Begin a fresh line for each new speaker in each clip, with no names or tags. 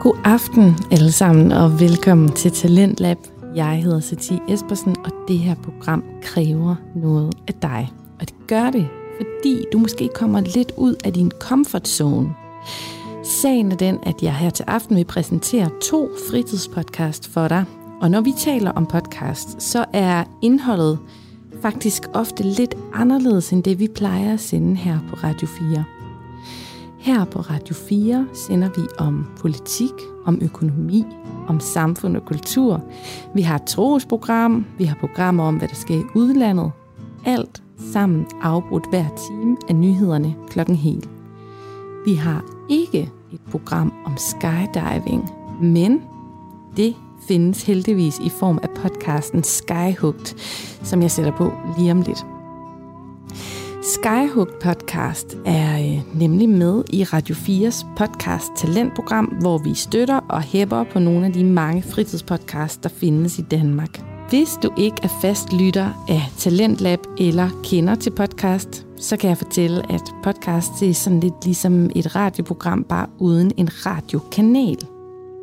God aften alle sammen, og velkommen til Talentlab. Jeg hedder Satie Espersen, og det her program kræver noget af dig. Og det gør det, fordi du måske kommer lidt ud af din comfort zone. Sagen er den, at jeg her til aften vil præsentere to fritidspodcast for dig. Og når vi taler om podcast, så er indholdet faktisk ofte lidt anderledes end det, vi plejer at sende her på Radio 4. Her på Radio 4 sender vi om politik, om økonomi, om samfund og kultur. Vi har et trosprogram, vi har programmer om, hvad der sker i udlandet. Alt sammen afbrudt hver time af nyhederne klokken helt. Vi har ikke et program om skydiving, men det findes heldigvis i form af podcasten Skyhugt, som jeg sætter på lige om lidt. Skyhooked podcast er øh, nemlig med i Radio 4's podcast Talentprogram, hvor vi støtter og hæpper på nogle af de mange fritidspodcasts, der findes i Danmark. Hvis du ikke er fast lytter af Talentlab eller kender til podcast, så kan jeg fortælle, at podcast det er sådan lidt ligesom et radioprogram, bare uden en radiokanal.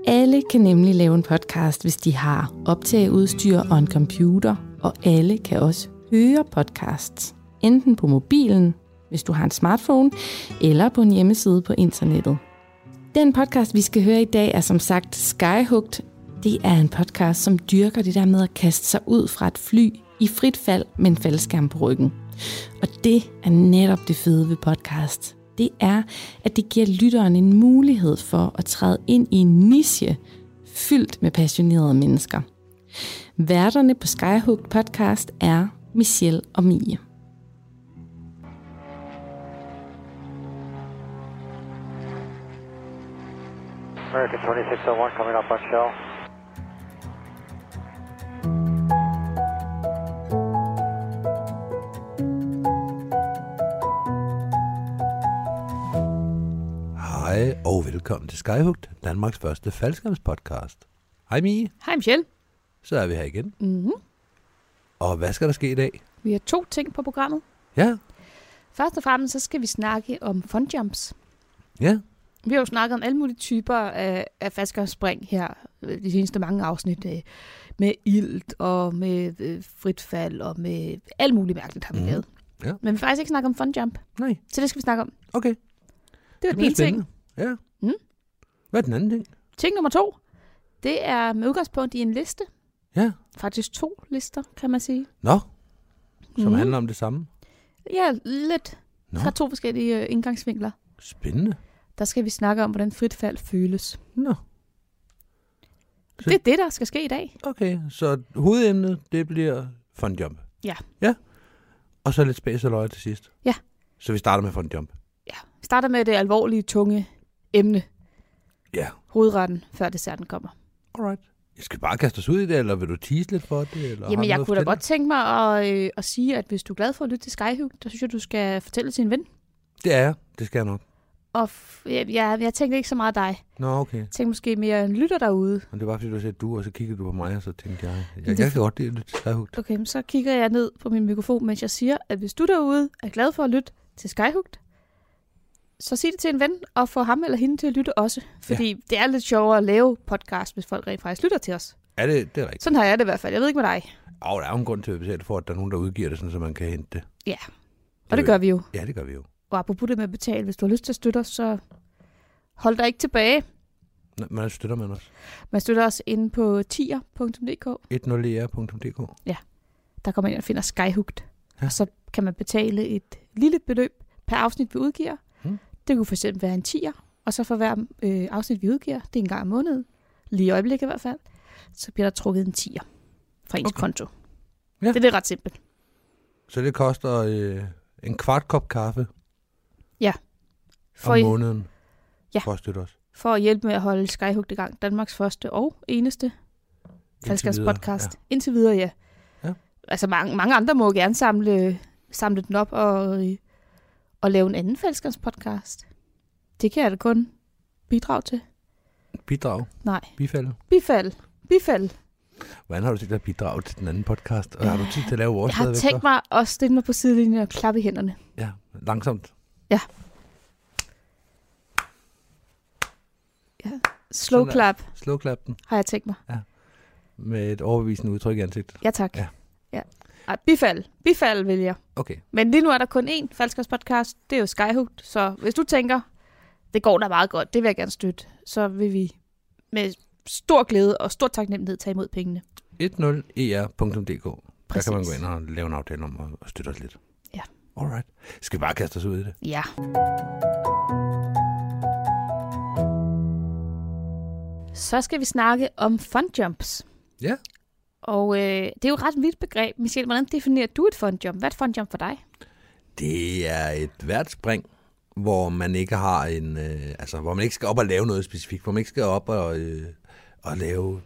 Alle kan nemlig lave en podcast, hvis de har optageudstyr og en computer, og alle kan også høre podcasts enten på mobilen, hvis du har en smartphone, eller på en hjemmeside på internettet. Den podcast, vi skal høre i dag, er som sagt Skyhugt. Det er en podcast, som dyrker det der med at kaste sig ud fra et fly i frit fald med en faldskærm på ryggen. Og det er netop det fede ved podcast. Det er, at det giver lytteren en mulighed for at træde ind i en niche fyldt med passionerede mennesker. Værterne på Skyhugt podcast er Michelle og Mie.
American 2601 coming up on shell.
Hej og velkommen til Skyhugt, Danmarks første faldskærmspodcast. Hej Mie,
Hej Michelle.
så er vi her igen.
Mm-hmm.
Og hvad skal der ske i dag?
Vi har to ting på programmet.
Ja,
Først og fremmest så skal vi snakke om fundjumps.
ja,
Vi har jo snakket om alle mulige typer af, af faldskærmsspring her øh, de seneste mange afsnit. øh, Med ilt og med øh, frit fald og med alt muligt mærkeligt har vi
Mhm.
lavet.
Ja.
Men vi har faktisk ikke snakket om fundjump,
nej,
så det skal vi snakke om.
okay.
Det var den ene ting.
Ja.
Mm.
Hvad er den anden ting?
Ting nummer to, det er med udgangspunkt i en liste.
Ja,
Faktisk to lister, kan man sige.
nå, som
Mhm.
handler om det samme.
Ja, lidt
Nå,
fra to forskellige øh, indgangsvinkler.
spændende.
Der skal vi snakke om, hvordan frit fald føles.
Nå, Så-
Det er det, der skal ske i dag.
okay, så hovedemnet, det bliver fundjump.
Ja.
Ja, og så lidt space og løg til sidst.
Ja.
Så vi starter med fundjump.
Vi starter med det alvorlige, tunge emne,
Ja,
hovedretten, før desserten kommer.
alright. Skal vi bare kaste os ud i det, eller vil du tease lidt for det? Eller har
Jamen,
du
jeg
noget
kunne da
at
godt tænke mig at, øh, at sige, at hvis du er glad for at lytte til Skyhug, så synes jeg, du skal fortælle til en ven.
fortælle? Det er jeg. Det skal jeg nok.
Og f- jeg, jeg, jeg tænkte ikke så meget dig.
Nå, okay.
Jeg tænkte måske mere en lytter derude.
Men det var, fordi du sagde du, og så kiggede du på mig, og så tænkte jeg, jeg, jeg
det-
kan godt lide lidt særhugt.
Okay, men så kigger jeg ned på min mikrofon, mens jeg siger, at hvis du derude er glad for at lytte til Skyhug, så sig det til en ven, og få ham eller hende til at lytte også. Fordi ja. det er lidt sjovere at lave podcast, hvis folk rent faktisk lytter til os.
Er det, det er rigtigt.
Sådan har jeg det i hvert fald. Jeg ved ikke med dig.
Og der er jo en grund til, at vi betaler for, at der er nogen, der udgiver det, sådan, så man kan hente det.
Ja, og det gør vi jo.
Ja, det gør vi jo.
Og apropos det med at betale, hvis du har lyst til at støtte os, så hold dig ikke tilbage.
Nå, Man støtter man os.
Man støtter os inde på tier.dk.
e 10er.dk.
Der kommer man ind og finder Skyhugt.
Ja.
Ja. Og så kan man betale et lille beløb per afsnit, vi udgiver.
Mm.
Mm. Det kunne for eksempel være en tier. Og så for hver øh, afsnit, vi udgiver, det er en gang om måneden, lige i øjeblikket i hvert fald, så bliver der trukket en tier fra ens
Okay.
okay. konto.
Ja.
Ja. Det, det er ret simpelt.
Så det koster øh, en kvart kop kaffe
For,
om
i,
måneden
Ja.
for at støtte os.
for at hjælpe med at holde Skyhugt i gang, Danmarks første og eneste
Indtil videre.
podcast. Ja. Indtil videre, ja.
Ja.
Altså mange, mange andre må jo gerne samle, samle den op og, øh, og lave en anden podcast. Det kan jeg da kun bidrage til.
Ja. Bidrag.
Nej.
Bifald.
Bifald. Bifald.
Hvordan har du tænkt dig at bidrage til den anden podcast? Og har du tid til at lave vores
Jeg har
stadigvæk
tænkt
så?
mig at stille mig på sidelinjen og klappe i hænderne.
Ja, langsomt.
Ja. Slow
Sådan
clap
Slowklap den
har jeg tænkt mig.
med et overbevisende udtryk i ansigtet.
Ja, tak.
Ja.
Ja. ja. Ej, bifald. Bifald vil jeg.
Okay,
Men lige nu er der kun én podcast. Det er jo Skyhook. Så hvis du tænker, det går da meget godt, det vil jeg gerne støtte, så vil vi med stor glæde og stor taknemmelighed tage imod pengene.
E 10er.dk. Der kan man gå
Præcis.
ind og lave en aftale om at- at støtte os lidt.
Ja.
Alright. Skal vi bare kaste os ud i det?
Ja. Så skal vi snakke om fundjumps.
Ja.
Og øh, det er jo et ret vidt begreb. Michelle, hvordan definerer du et fundjump? Hvad er et fundjump for dig?
Det er et værtsspring, hvor man ikke har en, øh, altså hvor man ikke skal op og lave noget specifikt, hvor man ikke skal op og, øh, og lave.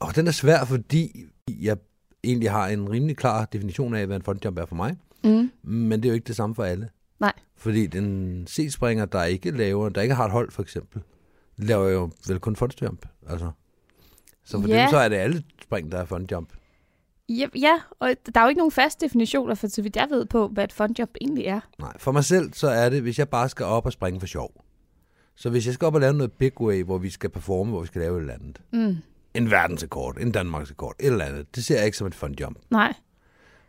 Og den er svær, fordi jeg egentlig har en rimelig klar definition af, hvad en frontjump er for mig,
Mm.
men det er jo ikke det samme for alle.
Nej.
Fordi den C-springer, der ikke laver, der ikke har et hold for eksempel, laver jo vel kun frontjump, altså. Så for
Ja.
yeah. dem så er det alle spring, der er frontjump.
Ja, ja, og der er jo ikke nogen faste definitioner, for så vidt jeg ved på, hvad et fundjump egentlig er.
Nej, for mig selv, så er det, hvis jeg bare skal op og springe for sjov. Så hvis jeg skal op og lave noget big way, hvor vi skal performe, hvor vi skal lave et eller andet.
Mm.
En verdensrekord, en Danmarksrekord, et eller andet. Det ser jeg ikke som et fun jump.
Nej.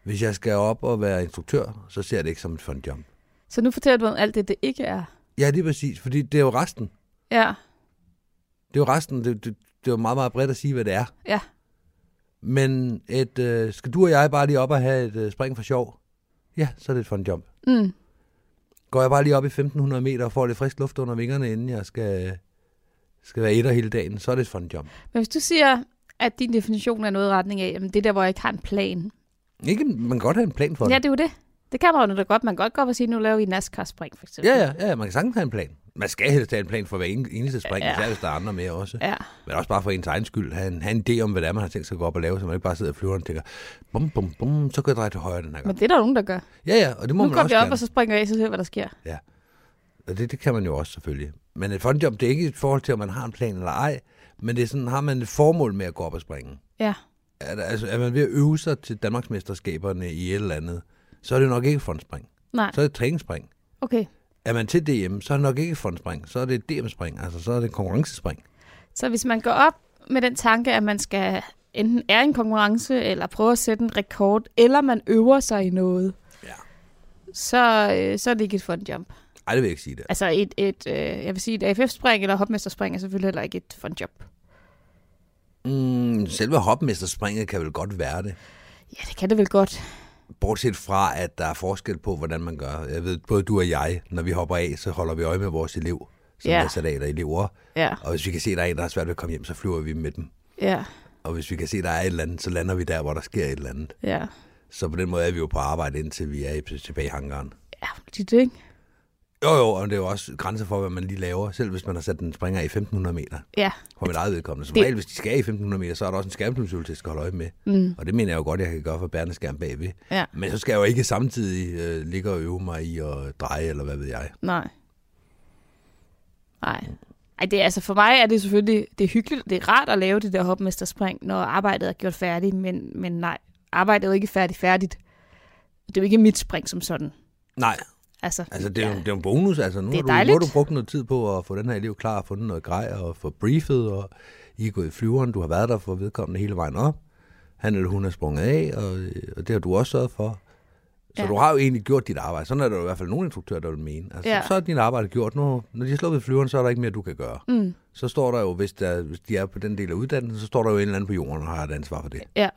Hvis jeg skal op og være instruktør, så ser jeg det ikke som et fun jump.
Så nu fortæller du om alt det, det ikke er.
Ja, lige præcis, fordi det er jo resten.
Ja.
Det er jo resten. Det, det, det er jo meget, meget bredt at sige, hvad det er.
Ja.
Men et, øh, skal du og jeg bare lige op og have et øh, spring for sjov? Ja, så er det et fun jump.
Mm.
Går jeg bare lige op i 1500 meter og får lidt frisk luft under vingerne, inden jeg skal, skal være etter hele dagen, så er det et fun jump.
Men hvis du siger, at din definition er noget i retning af, jamen det er der, hvor jeg ikke har en plan.
Ikke, man kan godt have en plan for
Ja,
det.
det er jo det. Det kan man jo da godt. Man kan godt gå op og sige, nu laver vi NASCAR-spring, for eksempel.
Ja, ja, ja, man kan sagtens have en plan. Man skal helst have en plan for hver en- eneste spring, ja.
Ja.
især hvis der er andre med også.
ja.
Men også bare for ens egen skyld. Have en, have en idé om, hvad det er, man har tænkt sig at gå op og lave, så man ikke bare sidder og flyver og tænker, bum, bum, bum, så kan jeg dreje til højre den her gang.
Men det er der nogen, der gør.
Ja, ja, og det må
nu
man
går
også
vi op,
gerne.
og så springer vi af, så ser vi, hvad der sker.
Og det, det kan man jo også selvfølgelig. Men et fondjob, det er ikke et forhold til, om man har en plan eller ej, men det er sådan, har man et formål med at gå op og springe?
Ja.
Er, der, altså, er man ved at øve sig til Danmarksmesterskaberne i et eller andet, så er det nok ikke fondspring.
Nej,
Så er det træningsspring.
okay.
Er man til DM, så er det nok ikke fondspring. Så er det DM-spring, altså så er det konkurrencespring.
Så hvis man går op med den tanke, at man skal enten er i en konkurrence, eller prøve at sætte en rekord, eller man øver sig i noget,
Ja.
så, øh, så er det ikke et fundjump.
Ej, det vil jeg ikke sige det.
Altså et, et øh, jeg vil sige, et AFF-spring eller hopmesterspring er selvfølgelig heller ikke et fundjump.
Mm, selve hopmesterspringet kan vel godt være det.
Ja, det kan det vel godt.
Bortset fra, at der er forskel på, hvordan man gør. Jeg ved, både du og jeg, når vi hopper af, så holder vi øje med vores elev, som
Ja.
er sat af, eller elever.
Ja,
Og hvis vi kan se, at der er en, der har svært ved at komme hjem, så flyver vi med dem.
ja,
Og hvis vi kan se, at der er et eller andet, så lander vi der, hvor der sker et eller andet.
ja.
Så på den måde er vi jo på arbejde, indtil vi er i- tilbage i hangaren.
Ja, det, ikke?
Jo, jo, og det er jo også grænser for, hvad man lige laver, selv hvis man har sat en springer i 1500 meter.
Ja.
For mit eget vedkommende. Som
Det-
regel, hvis de skal i 1500 meter, så er der også en skærmfilmsøvelse, jeg skal holde øje med.
Mm.
Og det mener jeg jo godt, jeg kan gøre for bærende skærm bagved.
Ja.
Men så skal jeg jo ikke samtidig øh, ligge og øve mig i at dreje, eller hvad ved jeg.
Nej. Nej. Ej, det er, altså for mig er det selvfølgelig, det er hyggeligt, og det er rart at lave det der hopmesterspring, når arbejdet er gjort færdigt, men, men nej, arbejdet er jo ikke færdigt færdigt. Det er jo ikke mit spring som sådan.
Nej,
Altså,
altså det er, jo, det er jo en bonus. Altså, nu,
Det er
har du, nu har
dejligt.
du brugt noget tid på at få den her elev klar, og fundet noget grej, og få briefet, og I er gået i flyveren, du har været der for vedkommende hele vejen op. Han eller hun er sprunget af, og, øh, og det har du også sørget for. Så
Ja.
du har jo egentlig gjort dit arbejde. Sådan er der jo i hvert fald nogle instruktører, der vil mene. Altså,
Ja.
Så er din arbejde gjort. Nu, når de har sluppet flyveren, så er der ikke mere, du kan gøre.
Mm,
så står der jo, hvis, der, hvis de er på den del af uddannelsen, så står der jo en eller anden på jorden og har et ansvar for det.
ja.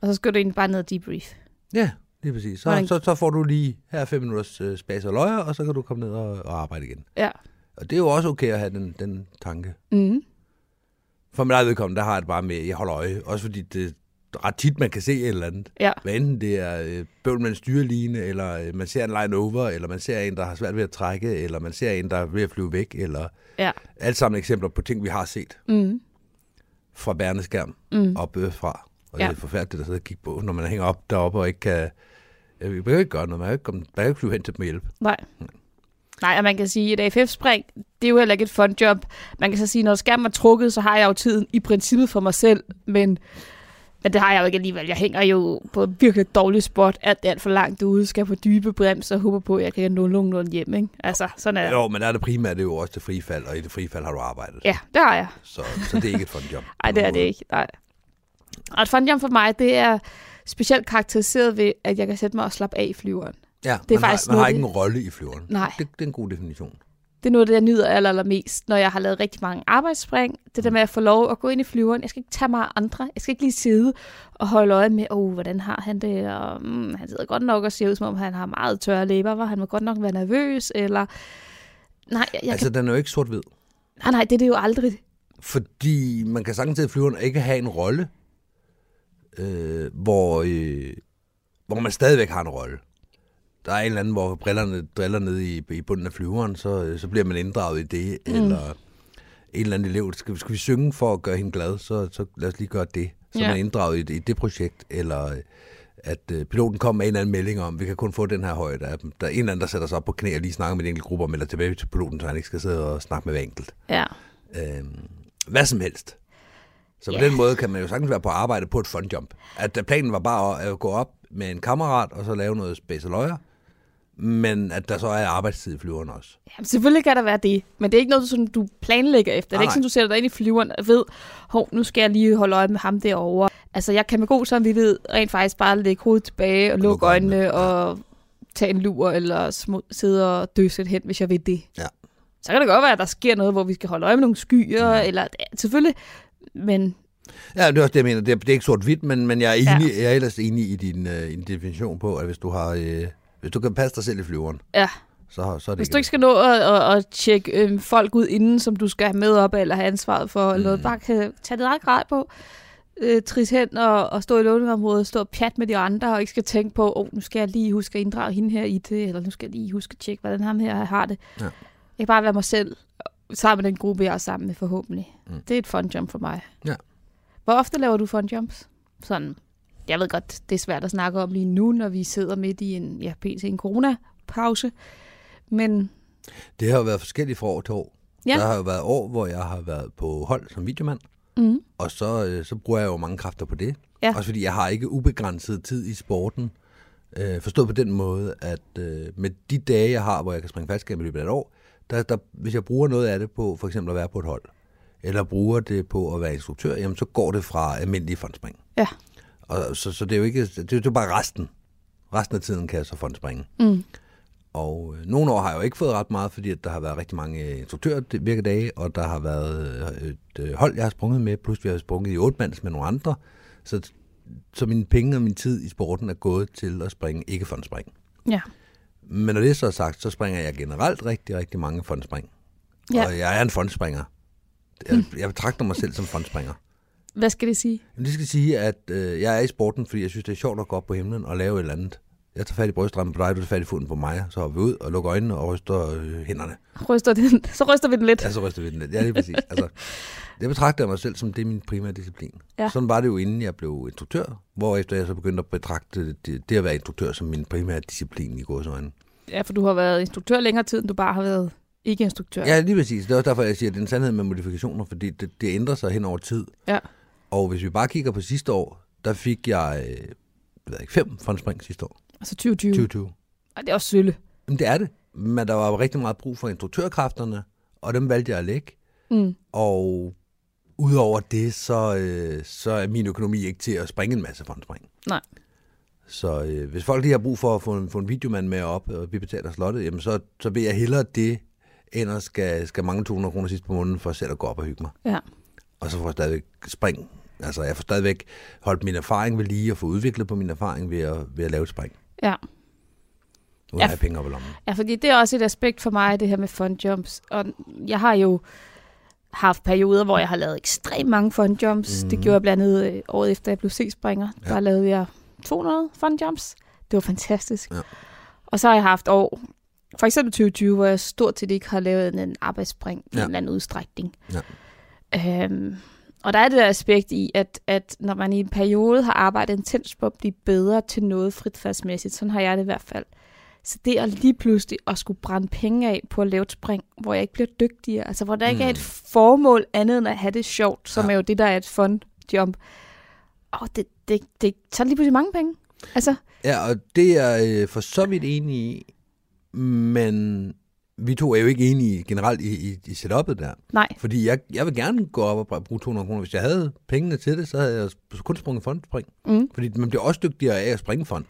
Og så skal du egentlig bare ned og debrief.
Ja, lige præcis. Så,
Hvordan-
så, så får du lige her fem minutters øh, spas og løjer, og så kan du komme ned og, og arbejde igen.
Ja.
Og det er jo også okay at have den, den tanke.
Mm.
For mit eget vedkommende, der har jeg det bare med, at jeg holder øje. Også fordi det er ret tit, man kan se et eller andet.
Ja.
Hvad enten det er øh, bøvl med en styreline, eller øh, man ser en line over, eller man ser en, der har svært ved at trække, eller man ser en, der er ved at flyve væk, eller
Ja.
alt sammen eksempler på ting, vi har set
Mm.
fra bærende skærm.
Mm.
op øh, fra. Og
Ja.
det er forfærdeligt at sidde og kigge på, når man hænger op deroppe og ikke kan... Jeg kan jo ikke gøre noget, man kan jo ikke, komme, man kan jo ikke flyve hen til dem med hjælp.
Nej. Nej, og man kan sige, at et AFF-spring, det er jo heller ikke et fun job. Man kan så sige, at når skærmen er trukket, så har jeg jo tiden i princippet for mig selv, men Men det har jeg jo ikke alligevel. Jeg hænger jo på et virkelig dårligt spot, alt alt for langt ude, skal på dybe bremser og håber på, at jeg kan nå nogenlunde hjem, ikke? Altså, sådan er
Ja.
det.
Jo, men der er det primært det er jo også det frifald, og i det frifald har du arbejdet.
Ja, det har jeg.
Så, så det er ikke et fondjob.
Nej, det er det ikke. Nej. Og et fun jump for mig, det er specielt karakteriseret ved, at jeg kan sætte mig og slappe af i flyveren.
Ja,
Det er
man
faktisk
har, man
noget,
har ikke
det-
en rolle i flyveren.
Nej.
Det, det er en god definition.
Det er noget af det, jeg nyder aller, allermest, når jeg har lavet rigtig mange arbejdsspring. Det der med at få lov at gå ind i flyveren. Jeg skal ikke tage mig af andre. Jeg skal ikke lige sidde og holde øje med, oh, hvordan har han det? Og, mm, han sidder godt nok og ser ud, som om han har meget tørre læber. Var han må godt nok være nervøs? Eller... Nej, jeg, jeg
Jeg altså,
altså...
kan... den er jo ikke sort-hvid.
kan... nej, nej, det er det jo aldrig.
Fordi man kan sagtens sidde i flyveren og ikke have en rolle, øh, hvor, øh, hvor man stadigvæk har en rolle. Der er en eller anden, hvor brillerne driller ned i, i bunden af flyveren, så, øh, så bliver man inddraget i det. Mm. Eller en eller anden elev, skal, skal vi synge for at gøre hende glad, så, så lad os lige gøre det. Så
Ja.
ja. man er inddraget i det, i det projekt. Eller øh, at øh, piloten kommer med en eller anden melding om, vi kan kun få den her højde. af dem. Der er en eller anden, der sætter sig op på knæ og lige snakker med en enkelt gruppe om, eller tilbage til piloten, så han ikke skal sidde og snakke med hver enkelt
Ja.
øh, hvad som helst. Så på
Ja.
yeah. den måde kan man jo sagtens være på arbejde på et fondjump. At øh, planen var bare at, at gå op med en kammerat og så lave noget space og løjer, men at der så er arbejdstid i flyveren også.
Jamen, selvfølgelig kan der være det, men det er ikke noget, som du planlægger efter. det er
Nej,
ikke sådan, du sætter dig ind i flyveren og ved, hov, nu skal jeg lige holde øje med ham derovre. Altså, jeg kan med god samvittighed rent faktisk bare lægge hovedet tilbage og lukke
lukke øjnene,
øjnene og tage en lur eller smu- sidde og døse lidt hen, hvis jeg ved det.
Ja.
Så kan det godt være, at der sker noget, hvor vi skal holde øje med nogle skyer, mm. eller ja, selvfølgelig, men
Ja, det er også det, jeg mener. Det er, det er ikke sort-hvidt, men, men jeg, er enig, ja. jeg er ellers enig i din, øh, i din definition på, at hvis du, har, øh, hvis du kan passe dig selv i flyveren,
ja,
så, har- så er det
hvis du ikke skal nå at, at, at tjekke øhm, folk ud inden, som du skal have med op eller have ansvaret for, mm. eller noget, bare kan tage det eget grad på, øh, tris hen og, og stå i låneområdet, stå og pjat med de andre, og ikke skal tænke på, oh, nu skal jeg lige huske at inddrage hende her i det, eller nu skal jeg lige huske at tjekke, hvordan ham her har det.
Ja.
Jeg kan bare være mig selv, sammen med den gruppe, jeg er sammen med forhåbentlig. Mm.
Mm.
Det er et fun jump for mig.
Ja.
Hvor ofte laver du fun jumps? Sådan, jeg ved godt, det er svært at snakke om lige nu, når vi sidder midt i en, ja, pt. en corona-pause. Men
Det har jo været forskelligt fra år til år.
Ja.
Ja. Der har jo været år, hvor jeg har været på hold som videomand,
Mhm.
og så, øh, så bruger jeg jo mange kræfter på det.
Ja.
Også fordi jeg har ikke ubegrænset tid i sporten. Øh, forstået på den måde, at øh, med de dage, jeg har, hvor jeg kan springe faldskærm i løbet af et år, der, der, hvis jeg bruger noget af det på for eksempel at være på et hold, eller bruger det på at være instruktør, jamen så går det fra almindelig fondspring.
Ja.
Og, så, så det er jo ikke, det er jo bare resten. Resten af tiden kan jeg så fondspringe.
Mm.
Og øh, nogle år har jeg jo ikke fået ret meget, fordi at der har været rigtig mange øh, instruktørvirkedage, og der har været øh, et øh, hold, jeg har sprunget med, plus vi har sprunget i otmands med nogle andre. Så, så mine penge og min tid i sporten er gået til at springe, ikke fondspring.
ja,
Men når det så er sagt, så springer jeg generelt rigtig, rigtig mange fondspring.
Ja.
Ja. Og jeg er en fondspringer. Jeg, jeg betragter mig selv som fondspringer.
hvad skal det sige?
Men det skal sige, at øh, jeg er i sporten, fordi jeg synes, det er sjovt at gå op på himlen og lave et eller andet. Jeg tager fat i brystrammen på dig, du tager fat i foden på mig, så hopper vi ud og lukker øjnene og ryster øh, hænderne.
Ryster den, så ryster vi den lidt.
Ja, så ryster vi den lidt. Ja, lige præcis. altså, jeg betragter mig selv som, det er min primære disciplin.
Ja.
Ja. Sådan var det jo, inden jeg blev instruktør, hvorefter jeg så begyndte at betragte det, det at være instruktør som min primære disciplin i gåsøjne.
Ja, for du har været instruktør længere tid, end du bare har været ikke-instruktør.
Ja, lige præcis. Det er også derfor, jeg siger, at det er en sandhed med modifikationer, fordi det, det ændrer sig hen over tid.
ja.
Og hvis vi bare kigger på sidste år, der fik jeg, øh, jeg ved ikke, fem fondspring sidste år,
Altså 2020.
2020.
Og det er også sølle.
Jamen, det er det. Men der var jo rigtig meget brug for instruktørkræfterne, og dem valgte jeg at lægge.
Mm.
Og udover det, så, øh, så er min økonomi ikke til at springe en masse fondspring.
Nej.
Så øh, hvis folk lige har brug for at få en, få en videomand med op, og vi betaler slottet, jamen så, så vil jeg hellere det, end at skal, skal mange 200 kroner sidst på måneden for selv at gå op og hygge mig.
Ja.
Og så får jeg stadigvæk spring. Altså jeg får stadigvæk holdt min erfaring ved lige, og få udviklet på min erfaring ved at, ved at lave et spring.
ja.
Nu
Ja.
har jeg penge op i lommen.
Ja, fordi det er også et aspekt for mig, det her med fun jumps. Og jeg har jo haft perioder, hvor jeg har lavet ekstremt mange fun jumps. Mm. Det gjorde jeg blandt andet øh, året efter, jeg blev C-springer. Ja.
Ja.
Der lavede jeg 200 fun jumps. Det var fantastisk. Ja.
Ja.
Og så har jeg haft år, for eksempel 2020, hvor jeg stort set ikke har lavet en- en arbejdsspring ja. i
Ja.
en eller anden udstrækning.
Ja.
Øhm, og der er det der aspekt i, at, at når man i en periode har arbejdet intens på at blive bedre til noget fritfærdsmæssigt, sådan har jeg det i hvert fald, så det at lige pludselig at skulle brænde penge af på at lave et spring, hvor jeg ikke bliver dygtigere, altså hvor der ikke er et formål andet end at have det sjovt, som ja.
Ja.
er jo det, der er et fun jump. åh, det, det, det tager lige pludselig mange penge. Altså,
Ja, og det er jeg øh, for så vidt enig i, men vi to er jo ikke enige generelt i, i, i setup'et der.
nej.
Fordi jeg, jeg vil gerne gå op og bruge 200 kroner. Hvis jeg havde pengene til det, så havde jeg kun sprunget fondspring.
Mm.
Fordi man bliver også dygtigere af at springe fond.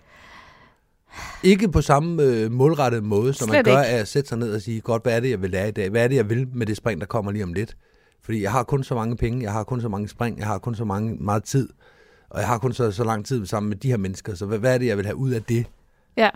Ikke på samme øh, målrettede måde, som man
Slet
gør
ikke.
af at sætte sig ned og sige, godt, hvad er det, jeg vil lære i dag? Hvad er det, jeg vil med det spring, der kommer lige om lidt? Fordi jeg har kun så mange penge, jeg har kun så mange spring, jeg har kun så mange, meget tid, og jeg har kun så, så lang tid sammen med de her mennesker, så hvad, hvad er det, jeg vil have ud af det?
Ja,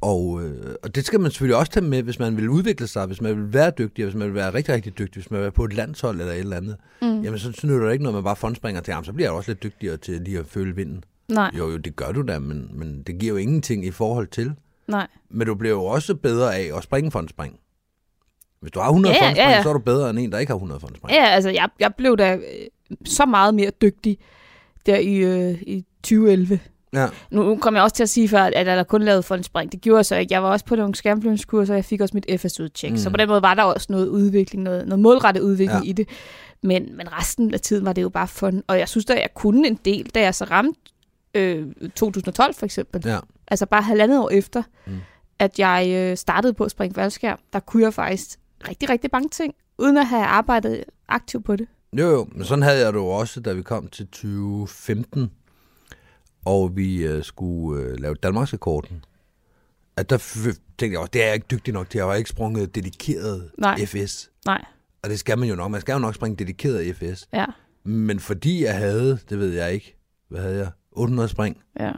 Og, øh, og det skal man selvfølgelig også tage med, hvis man vil udvikle sig, hvis man vil være dygtig, og hvis man vil være rigtig, rigtig dygtig, hvis man vil være på et landshold eller et eller andet. Mm. Jamen, så, så nytter det ikke, når man bare fondspringer til ham, så bliver jeg også lidt dygtigere til lige at føle vinden.
nej,
Jo, jo, det gør du da, men, men det giver jo ingenting i forhold til.
nej.
Men du bliver jo også bedre af at springe fondspring. Hvis du har 100
Ja, ja,
yeah, fondspring,
ja.
så er du bedre end en, der ikke har 100 fondspring.
Ja, altså, jeg, jeg blev da øh, så meget mere dygtig der i, øh, i 2011.
Ja.
Nu kom jeg også til at sige før, at jeg kun lavede fondspring. Det gjorde jeg så ikke. Jeg var også på nogle skærmflyvningskurser, og jeg fik også mit FSU-tjek. Mm. Så på den måde var der også noget udvikling, noget, noget målrettet udvikling
Ja.
ja. i det. Men, men resten af tiden var det jo bare fun. Og jeg synes da, jeg kunne en del, da jeg så ramte øh, 2012 for eksempel.
Ja.
Altså bare halvandet år efter, mm. at jeg øh, startede på at springe faldskærm, der kunne jeg faktisk rigtig, rigtig mange ting, uden at have arbejdet aktivt på det.
Jo, jo, men sådan havde jeg det jo også, da vi kom til 2015, og vi øh, skulle øh, lave Danmarksrekorden. At der f- tænkte jeg også, det er jeg ikke dygtig nok til. Jeg har ikke sprunget dedikeret
Nej.
FS.
Nej,
Og det skal man jo nok. Man skal jo nok springe dedikeret FS.
ja,
Men fordi jeg havde, det ved jeg ikke, hvad havde jeg? 800 spring.
ja.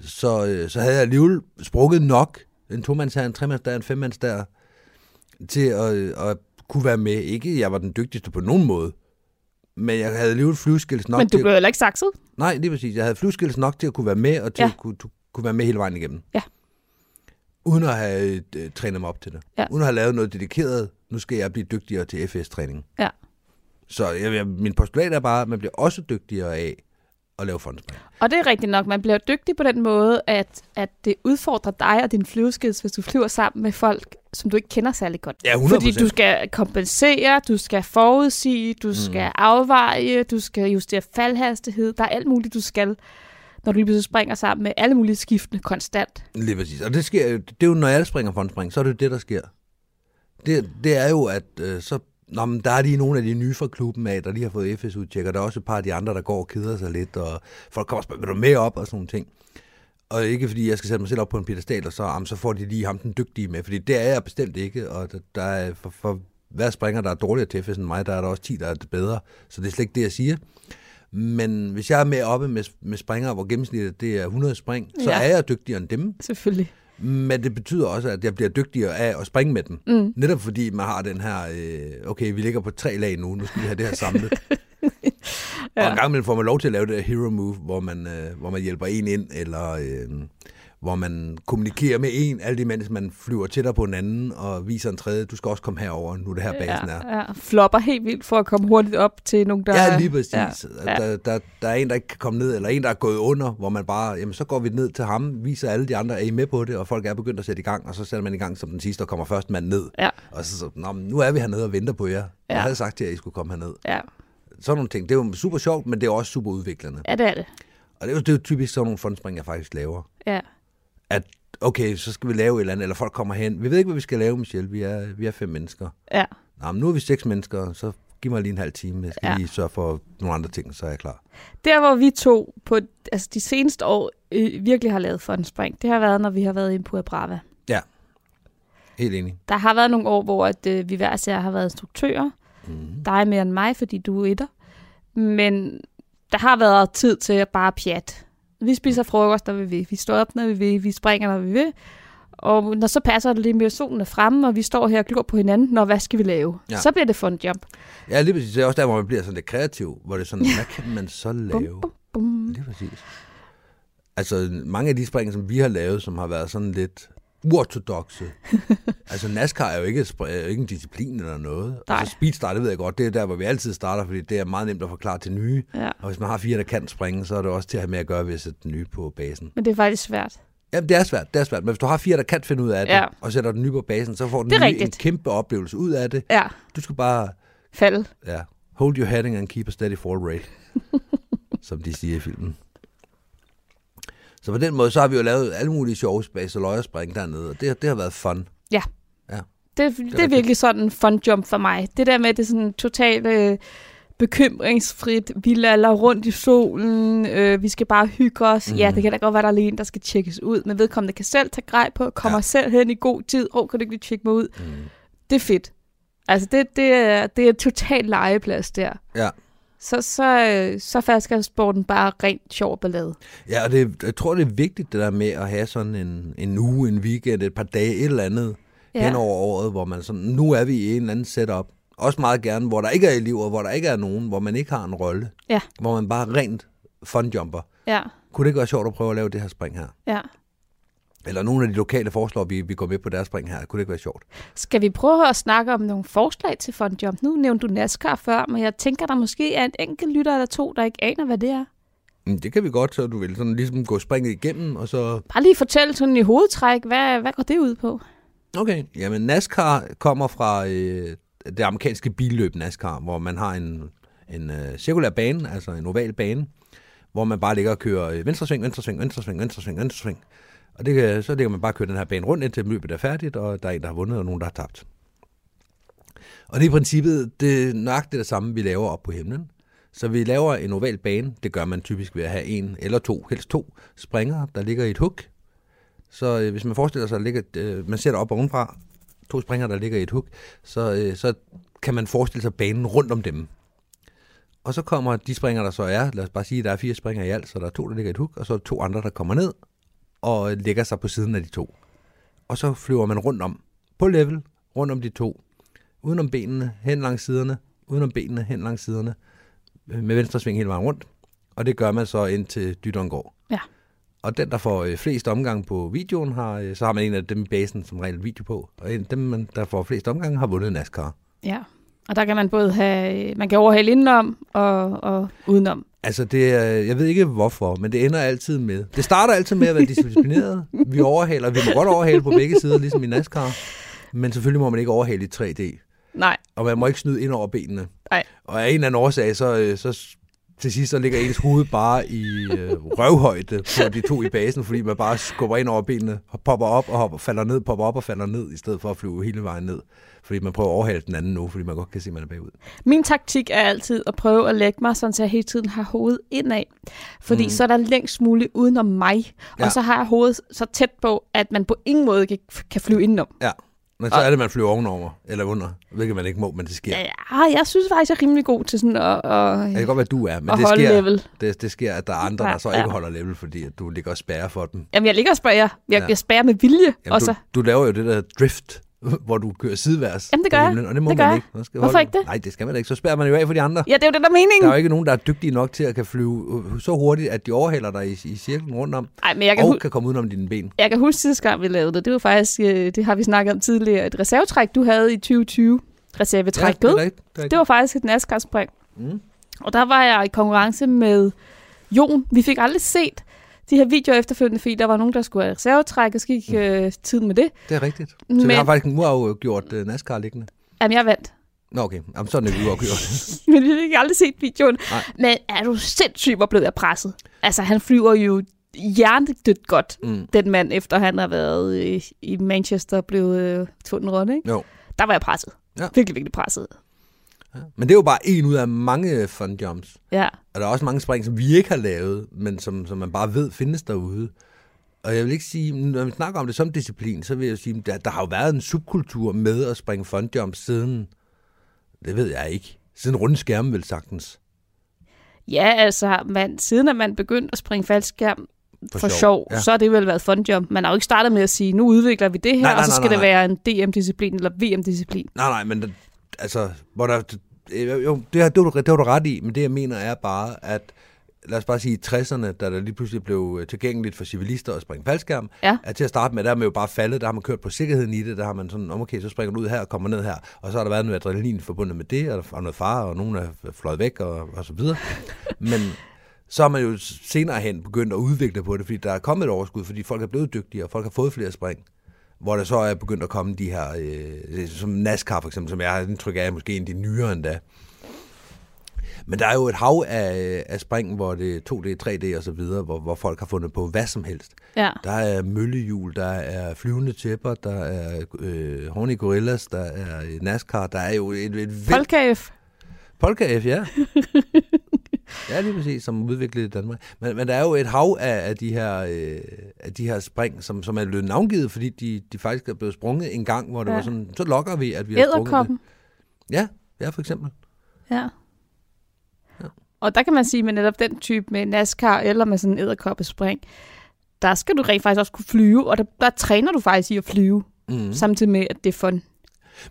så, øh, så havde jeg alligevel sprukket nok en tomandsherre, en tremandsdag, en femmandsdag, til at, øh, at kunne være med. Ikke, jeg var den dygtigste på nogen måde, men jeg havde alligevel flyveskills nok
Men du
til...
blev heller ikke sakset.
Nej, lige præcis. Jeg havde flyveskills nok til at kunne være med, og til
Ja.
at kunne, du, kunne være med hele vejen igennem.
Ja.
Uden at have øh, trænet mig op til det.
Ja.
Uden at have lavet noget dedikeret. Nu skal jeg blive dygtigere til FS-træning.
Ja.
Så jeg, jeg, min postulat er bare, at man bliver også dygtigere af at lave fondspring.
Og det er rigtigt nok, man bliver dygtig på den måde, at, at det udfordrer dig og din flyveskids, hvis du flyver sammen med folk, som du ikke kender særlig godt.
Ja, 100%.
Fordi du skal kompensere, du skal forudsige, du mm. skal afveje, du skal justere faldhastighed. Der er alt muligt, du skal, når du lige pludselig springer sammen med alle mulige skiftende konstant.
Lige præcis. Og det, sker, jo- det er jo, når jeg springer fondspring, så er det jo det, der sker. Det, det er jo, at øh, så, nå, men der er lige nogle af de nye fra klubben af, der lige har fået FS-udtjek, og der er også et par af de andre, der går og keder sig lidt, og folk kommer og spørger, vil du med op, og sådan nogle ting. Og ikke fordi jeg skal sætte mig selv op på en pedestal, og så, jamen, så får de lige ham den dygtige med, fordi det er jeg bestemt ikke, og der, der er for, for hver springer, der er dårligere til FS end mig, der er der også 10, der er bedre, så det er slet ikke det, jeg siger. Men hvis jeg er med oppe med, med springer, hvor gennemsnittet det er 100 spring, så
Ja.
er jeg dygtigere end dem.
Selvfølgelig.
Men det betyder også, at jeg bliver dygtigere af at springe med den. Mm. Netop fordi man har den her, øh, okay, vi ligger på tre lag nu, nu skal vi have det her samlet. ja. Og en gang imellem får man lov til at lave det her hero move, hvor man, øh, hvor man hjælper en ind, eller øh, hvor man kommunikerer med en, alt imens man flyver tættere på en anden, og viser en tredje, du skal også komme herover, nu er det her basen er.
ja, ja. Flopper helt vildt for at komme hurtigt op til nogle, der...
Ja, lige præcis. Ja,
Ja,
ja. Der, der, der er en, der ikke kan komme ned, eller en, der er gået under, hvor man bare, jamen så går vi ned til ham, viser alle de andre, er I med på det, og folk er begyndt at sætte i gang, og så sætter man i gang som den sidste, og kommer først mand ned.
ja,
Og så, så Nå, men nu er vi hernede og venter på jer. Ja.
Ja.
Jeg havde sagt til jer, at I skulle komme herned.
ja.
Sådan nogle ting. Det er jo super sjovt, men det er også super udviklende.
ja, det er det.
Og det er jo, det er jo typisk sådan nogle fondspring, jeg faktisk laver.
Ja.
At okay, så skal vi lave et eller andet, eller folk kommer hen. Vi ved ikke, hvad vi skal lave, Michelle. Vi er, vi er fem mennesker.
Ja,
Nå, men nu er vi seks mennesker, så giv mig lige en halv time. Jeg skal ja.
Ja.
lige sørge for nogle andre ting, så er jeg klar.
Der, hvor vi to på altså de seneste år øh, virkelig har lavet for en spring, det har været, når vi har været inde på Brava.
Ja, helt enig.
Der har været nogle år, hvor at, øh, vi hver især har været instruktører. Mm. Dig mere end mig, fordi du er etter. Men der har været tid til at bare pjat. Vi spiser frokost, når vi vil. Vi står op, når vi vil. Vi springer, når vi vil. Og når så passer det lidt mere, solen er fremme, og vi står her og glor på hinanden, når hvad skal vi lave?
Ja.
Ja. Så bliver det fondjob.
Ja, lige præcis. Det er også der, hvor man bliver sådan lidt kreativ, hvor det er sådan, hvad kan man så lave?
Bum, bum.
Lige præcis. Altså, mange af de spring, som vi har lavet, som har været sådan lidt uortodoxe. altså, NASCAR er jo ikke, et spr- er jo ikke en disciplin eller noget.
Nej.
Altså, speedstart, det ved jeg godt, det er der, hvor vi altid starter, fordi det er meget nemt at forklare til nye.
Ja.
Og hvis man har fire, der kan springe, så er det også til at have med at gøre ved at sætte den nye på basen.
Men det er faktisk svært.
Jamen, det er svært, det er svært. Men hvis du har fire, der kan finde ud af det,
Ja.
og sætter den nye på basen, så får den
Det er
nye en
rigtigt.
kæmpe oplevelse ud af det.
Ja,
Du skal bare
fald.
Ja. Hold your heading and keep a steady fall rate. som de siger i filmen. Så på den måde, så har vi jo lavet alle mulige sjove space og løjerspring dernede, og det, det har været fun.
Det, det, det er virkelig sådan en fun jump for mig. Det der med, at det er sådan totalt øh, bekymringsfrit, vi lader rundt i solen, øh, vi skal bare hygge os. Mm. Ja, det kan da godt være, der er lige en, der skal tjekkes ud, men vedkommende kan selv tage grej på, kommer ja.
Ja.
selv hen i god tid, åh, kan du ikke lige tjekke mig ud?
Mm.
Det er fedt. Altså, det, det, er, det er totalt legeplads der.
Ja.
Så, så, øh, så fasker sporten bare rent sjov og ballade.
Ja, og det, jeg tror, det er vigtigt det der med at have sådan en, en uge, en weekend, et par dage, et eller andet ja. hen over året, hvor man sådan, nu er vi i en eller anden setup. Også meget gerne, hvor der ikke er elever, hvor der ikke er nogen, hvor man ikke har en rolle.
Ja.
Hvor man bare rent funjumper.
ja,
Kunne det ikke være sjovt at prøve at lave det her spring her?
ja.
Eller nogle af de lokale foreslår, vi, vi går med på deres spring her. Kunne det ikke være sjovt?
Skal vi prøve at snakke om nogle forslag til Fondjump? Nu nævnte du NASCAR før, men jeg tænker, der måske er en enkelt lytter eller to, der ikke aner, hvad det er.
Mm, Det kan vi godt, så du vil sådan ligesom gå springet igennem, og så
Bare lige fortæl sådan i hovedtræk, hvad, hvad går det ud på?
Okay. Jamen, NASCAR kommer fra øh, det amerikanske billøb NASCAR, hvor man har en, en øh, cirkulær bane, altså en oval bane, hvor man bare ligger og kører øh, venstre sving, venstre sving, venstre sving, venstre sving, venstre sving. Og det, kan- så ligger man bare og kører den her bane rundt, indtil løbet er færdigt, og der er en, der har vundet, og nogen, der har tabt. Og det er i princippet det er nøjagtigt det samme, vi laver op på himlen. Så vi laver en oval bane, det gør man typisk ved at have en eller to, helst to springer, der ligger i et hook, så øh, hvis man forestiller sig, at ligger, øh, man ser det op ovenfra, to springer, der ligger i et hug, så, øh, så kan man forestille sig banen rundt om dem. Og så kommer de springer, der så er, lad os bare sige, at der er fire springer i alt, så der er to, der ligger i et hug, og så er der to andre, der kommer ned og lægger sig på siden af de to. Og så flyver man rundt om, på level, rundt om de to, uden om benene, hen langs siderne, uden om benene, hen langs siderne, øh, med venstre sving hele vejen rundt. Og det gør man så indtil dytteren går. Og den, der får øh, flest omgang på videoen, har, øh, så har man en af dem i basen som regel video på. Og en af dem, man- der får flest omgang, har vundet NASCAR.
Ja, og der kan man både have, man kan overhale indenom og, og udenom.
Altså, det er, jeg ved ikke hvorfor, men det ender altid med. Det starter altid med at være disciplineret. Vi overhaler, vi må godt overhale på begge sider, ligesom i NASCAR. Men selvfølgelig må man ikke overhale i 3D.
Nej,
Og man må ikke snyde ind over benene.
Nej.
Og af en eller anden årsag, så, øh, så s- til sidst så ligger ens hoved bare i øh, røvhøjde på de to i basen, fordi man bare skubber ind over benene, og popper op og hopper, falder ned, popper op og falder ned, i stedet for at flyve hele vejen ned. Fordi man prøver at overhale den anden nu, fordi man godt kan se, at man er bagud.
Min taktik er altid at prøve at lægge mig, sådan så jeg hele tiden har hovedet indad. Fordi mm. så er der længst muligt udenom mig. Ja.
Ja.
Og så har jeg hovedet så tæt på, at man på ingen måde kan, kan flyve indenom.
Ja, men så er det, man flyver ovenover, eller under, hvilket man ikke må, men det sker.
Ja, jeg synes faktisk, jeg er rimelig god til sådan at... at
Det kan godt være, du er, men
Og
det
holde
sker,
level.
Det, det sker, at der er andre,
Ja,
der så
ja.
ikke holder level, fordi at du ligger og spærrer for dem.
Jamen, jeg ligger og spærrer. Jeg, ja.
Ja.
jeg spærrer med vilje
Jamen,
også.
du, du laver jo det der drift, hvor du kører sideværs.
Jamen, det
på
gør jeg.
himlen, Og det må
Det gør
man
jeg.
ikke. Man skal
Hvorfor
holde-
ikke det?
Nej, det skal man da ikke. Så spærrer man jo af for de andre.
Ja, det er jo det, der er meningen.
Der er jo ikke nogen, der er dygtige nok til at kan flyve øh, så hurtigt, at de overhaler dig i, i cirklen rundt om,
Ej, men jeg kan,
og
hu-
kan komme udenom dine ben.
jeg kan huske sidste gang, vi lavede det. Det var faktisk, øh, det har vi snakket om tidligere, et reservetræk, du havde i 2020. Reservetrækket.
det er rigtigt. Det er
Det
rigtigt.
var faktisk et NASCAR-spring. Mm.
Mm.
Og der var jeg i konkurrence med Jon. Vi fik aldrig set de her videoer efterfølgende, fordi der var nogen, der skulle have reservetræk, og så
Mm.
gik øh, tiden med det.
Det er rigtigt. Så Men... vi
Men-
har faktisk en uafgjort uh, NASCAR liggende.
Jamen, jeg vandt.
Nå, okay. Jamen, sådan er vi uafgjort.
Men vi fik aldrig set videoen. Nej.
Nej.
Men er du sindssyg, hvor blev jeg presset? Altså, han flyver jo hjernedødt godt,
mm.
den mand, efter han har været i, i Manchester og blevet øh, tundet rundt, ikke?
Jo.
Der var jeg presset. Ja.
Ja.
Virkelig, virkelig presset.
Men det er jo bare en ud af mange fun jumps.
Ja.
Og der er også mange spring, som vi ikke har lavet, men som, som man bare ved findes derude. Og jeg vil ikke sige, når vi snakker om det som disciplin, så vil jeg sige, der, der har jo været en subkultur med at springe fronjump siden, det ved jeg ikke, siden runde skærmen vel sagtens.
Ja, altså, man, siden at man begyndte at springe faldskærm
For
for, for sjov,
sjov,
sjov ja.
ja.
så har det vel været funjump. Man har jo ikke startet med at sige, nu udvikler vi det her, nej,
Nej,
nej,
nej,
og så
nej,
skal
nej,
det være en DM-disciplin eller VM-disciplin.
Nej, nej, men det- altså, hvor der, øh, jo, det, har, det, var du, det var du ret i, men det jeg mener er bare, at lad os bare sige, i 60'erne, da der lige pludselig blev øh, tilgængeligt for civilister at springe faldskærm,
Ja.
at til at starte med, der er man jo bare faldet, der har man kørt på sikkerheden i det, der har man sådan, "Nå, okay, så springer du ud her og kommer ned her, og så har der været noget adrenalin forbundet med det, og der er noget fare, og nogen er fløjet væk, og, og så videre. Men så har man jo senere hen begyndt at udvikle på det, fordi der er kommet et overskud, fordi folk er blevet dygtigere, og folk har fået flere spring. Hvor der så er begyndt at komme de her, øh, som NASCAR for eksempel, som jeg har indtryk af, er måske en af de nyere endda. Men der er jo et hav af, af spring, hvor det er 2D, 3D og så videre, hvor, hvor folk har fundet på hvad som helst.
Ja.
Der er møllehjul, der er flyvende tæpper, der er øh, horny gorillas, der er NASCAR, der er jo et, et væld
Polkaf.
Polka F, ja. ja, lige præcis, som er udviklet i Danmark. Men, men der er jo et hav af, af, de, her, øh, af de her spring, som, som er blevet navngivet, fordi de, de faktisk er blevet sprunget en gang, hvor det
Ja.
ja. var sådan, så lokker vi, at vi har sprunget det.
Æderkoppen.
Ja, ja, for eksempel.
Ja.
Ja.
Og der kan man sige, med netop den type med NASCAR eller med sådan en æderkoppespring, der skal du rent faktisk også kunne flyve, og der, der træner du faktisk i at flyve,
Mm.
samtidig med, at det er fun.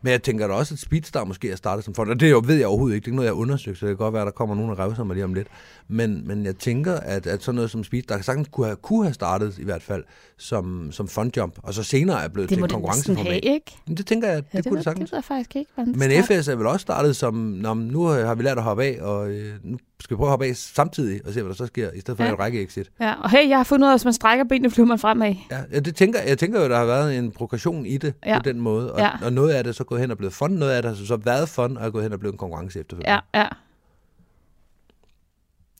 Men jeg tænker da også, at Speedstar måske er startet som fond, og det jo- ved jeg overhovedet ikke. Det er ikke noget, jeg har undersøgt, så det kan godt være, at der kommer nogen og revser mig lige om lidt. Men, men jeg tænker, at, at sådan noget som Speedstar sagtens kunne have, kunne have startet i hvert fald som, som fondjump, og så senere er blevet
Det
til
må
et
det næsten have,
konkurrenceformat.
ikke?
Men det tænker jeg, det,
Ja,
det kunne det
ved,
sagtens.
det ved jeg faktisk ikke. hvordan det
Men
starter.
FS er vel også startet som, Nå, men nu øh, har vi lært at hoppe af, og øh, nu skal vi prøve at hoppe af samtidig, og se, hvad der så sker, i stedet for
Ja.
ja. at række exit.
Ja, og hey, jeg har fundet ud af, at hvis man strækker benene, flyver man fremad.
Ja, ja, det tænker, jeg tænker jo, der har været en progression i det
Ja.
på den måde, og,
Ja.
og noget af det er så gået hen og blevet fun, noget af det har så været fun og er gået hen og blevet en konkurrence efterfølgende.
Ja, ja.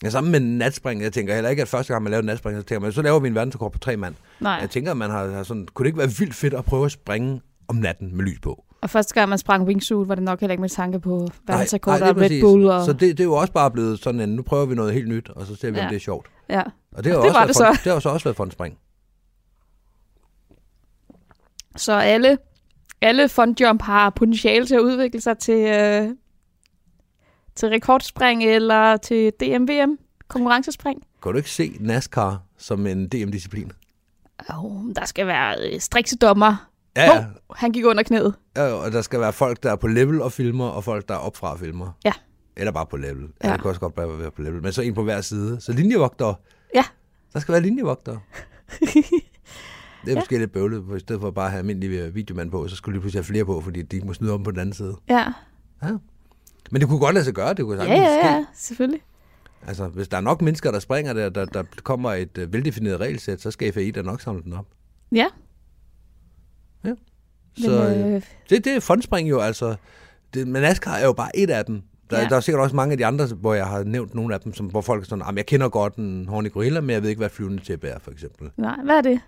Ja, sammen med natspring, jeg tænker heller ikke, at første gang man laver natspring, så tænker man, så laver vi en verdensrekord på tre mand.
Nej.
Jeg tænker, at man har, har sådan, kunne det ikke være vildt fedt at prøve at springe om natten med lys på?
Og første gang, man sprang wingsuit, var det nok heller ikke med tanke på verdensrekord
Nej, nej,
og
lige
Red
præcis.
Bull. Og...
Så det, det er jo også bare blevet sådan en, nu prøver vi noget helt nyt, og så ser vi,
Ja.
om det er sjovt.
Ja.
Og det har,
Og
jo også
det var
været
det
for,
så.
det har jo så også været for en spring.
Så alle, alle fondjump har potentiale til at udvikle sig til, øh, til rekordspring eller til DMVM, konkurrencespring.
Kan du ikke se NASCAR som en DM-disciplin?
Oh, der skal være øh, strikse dommer.
Ja, ja.
Han gik under knæet.
Ja, ja, og der skal være folk, der er på level og filmer, og folk, der er opfra og filmer.
Ja.
Eller bare på level. Ja,
Ja.
det kan også godt bare være på level. Men så en på hver side. Så linjevogtere.
Ja.
Der skal være linjevogtere. Det er ja. måske lidt bøvlet, for i stedet for bare at have almindelige videomand på, så skulle de pludselig have flere på, fordi de ikke må snyde om på den anden side.
Ja,
Men det kunne godt lade sig gøre, det kunne
ja,
sagtens
ja,
ske.
ja selvfølgelig.
Altså, hvis der er nok mennesker, der springer der, der, der kommer et øh, veldefineret regelsæt, så skal FAI da nok samle den op.
Ja, men,
Så, øh,
øh,
Det, det er fondspring jo, altså. Det, men NASCAR er jo bare et af dem. Der,
Ja.
ja. der er sikkert også mange af de andre, hvor jeg har nævnt nogle af dem, som, hvor folk er sådan, "Jamen, jeg kender godt en horny gorilla, men jeg ved ikke, hvad et flyvende tæppe er, for eksempel.
nej, hvad er det?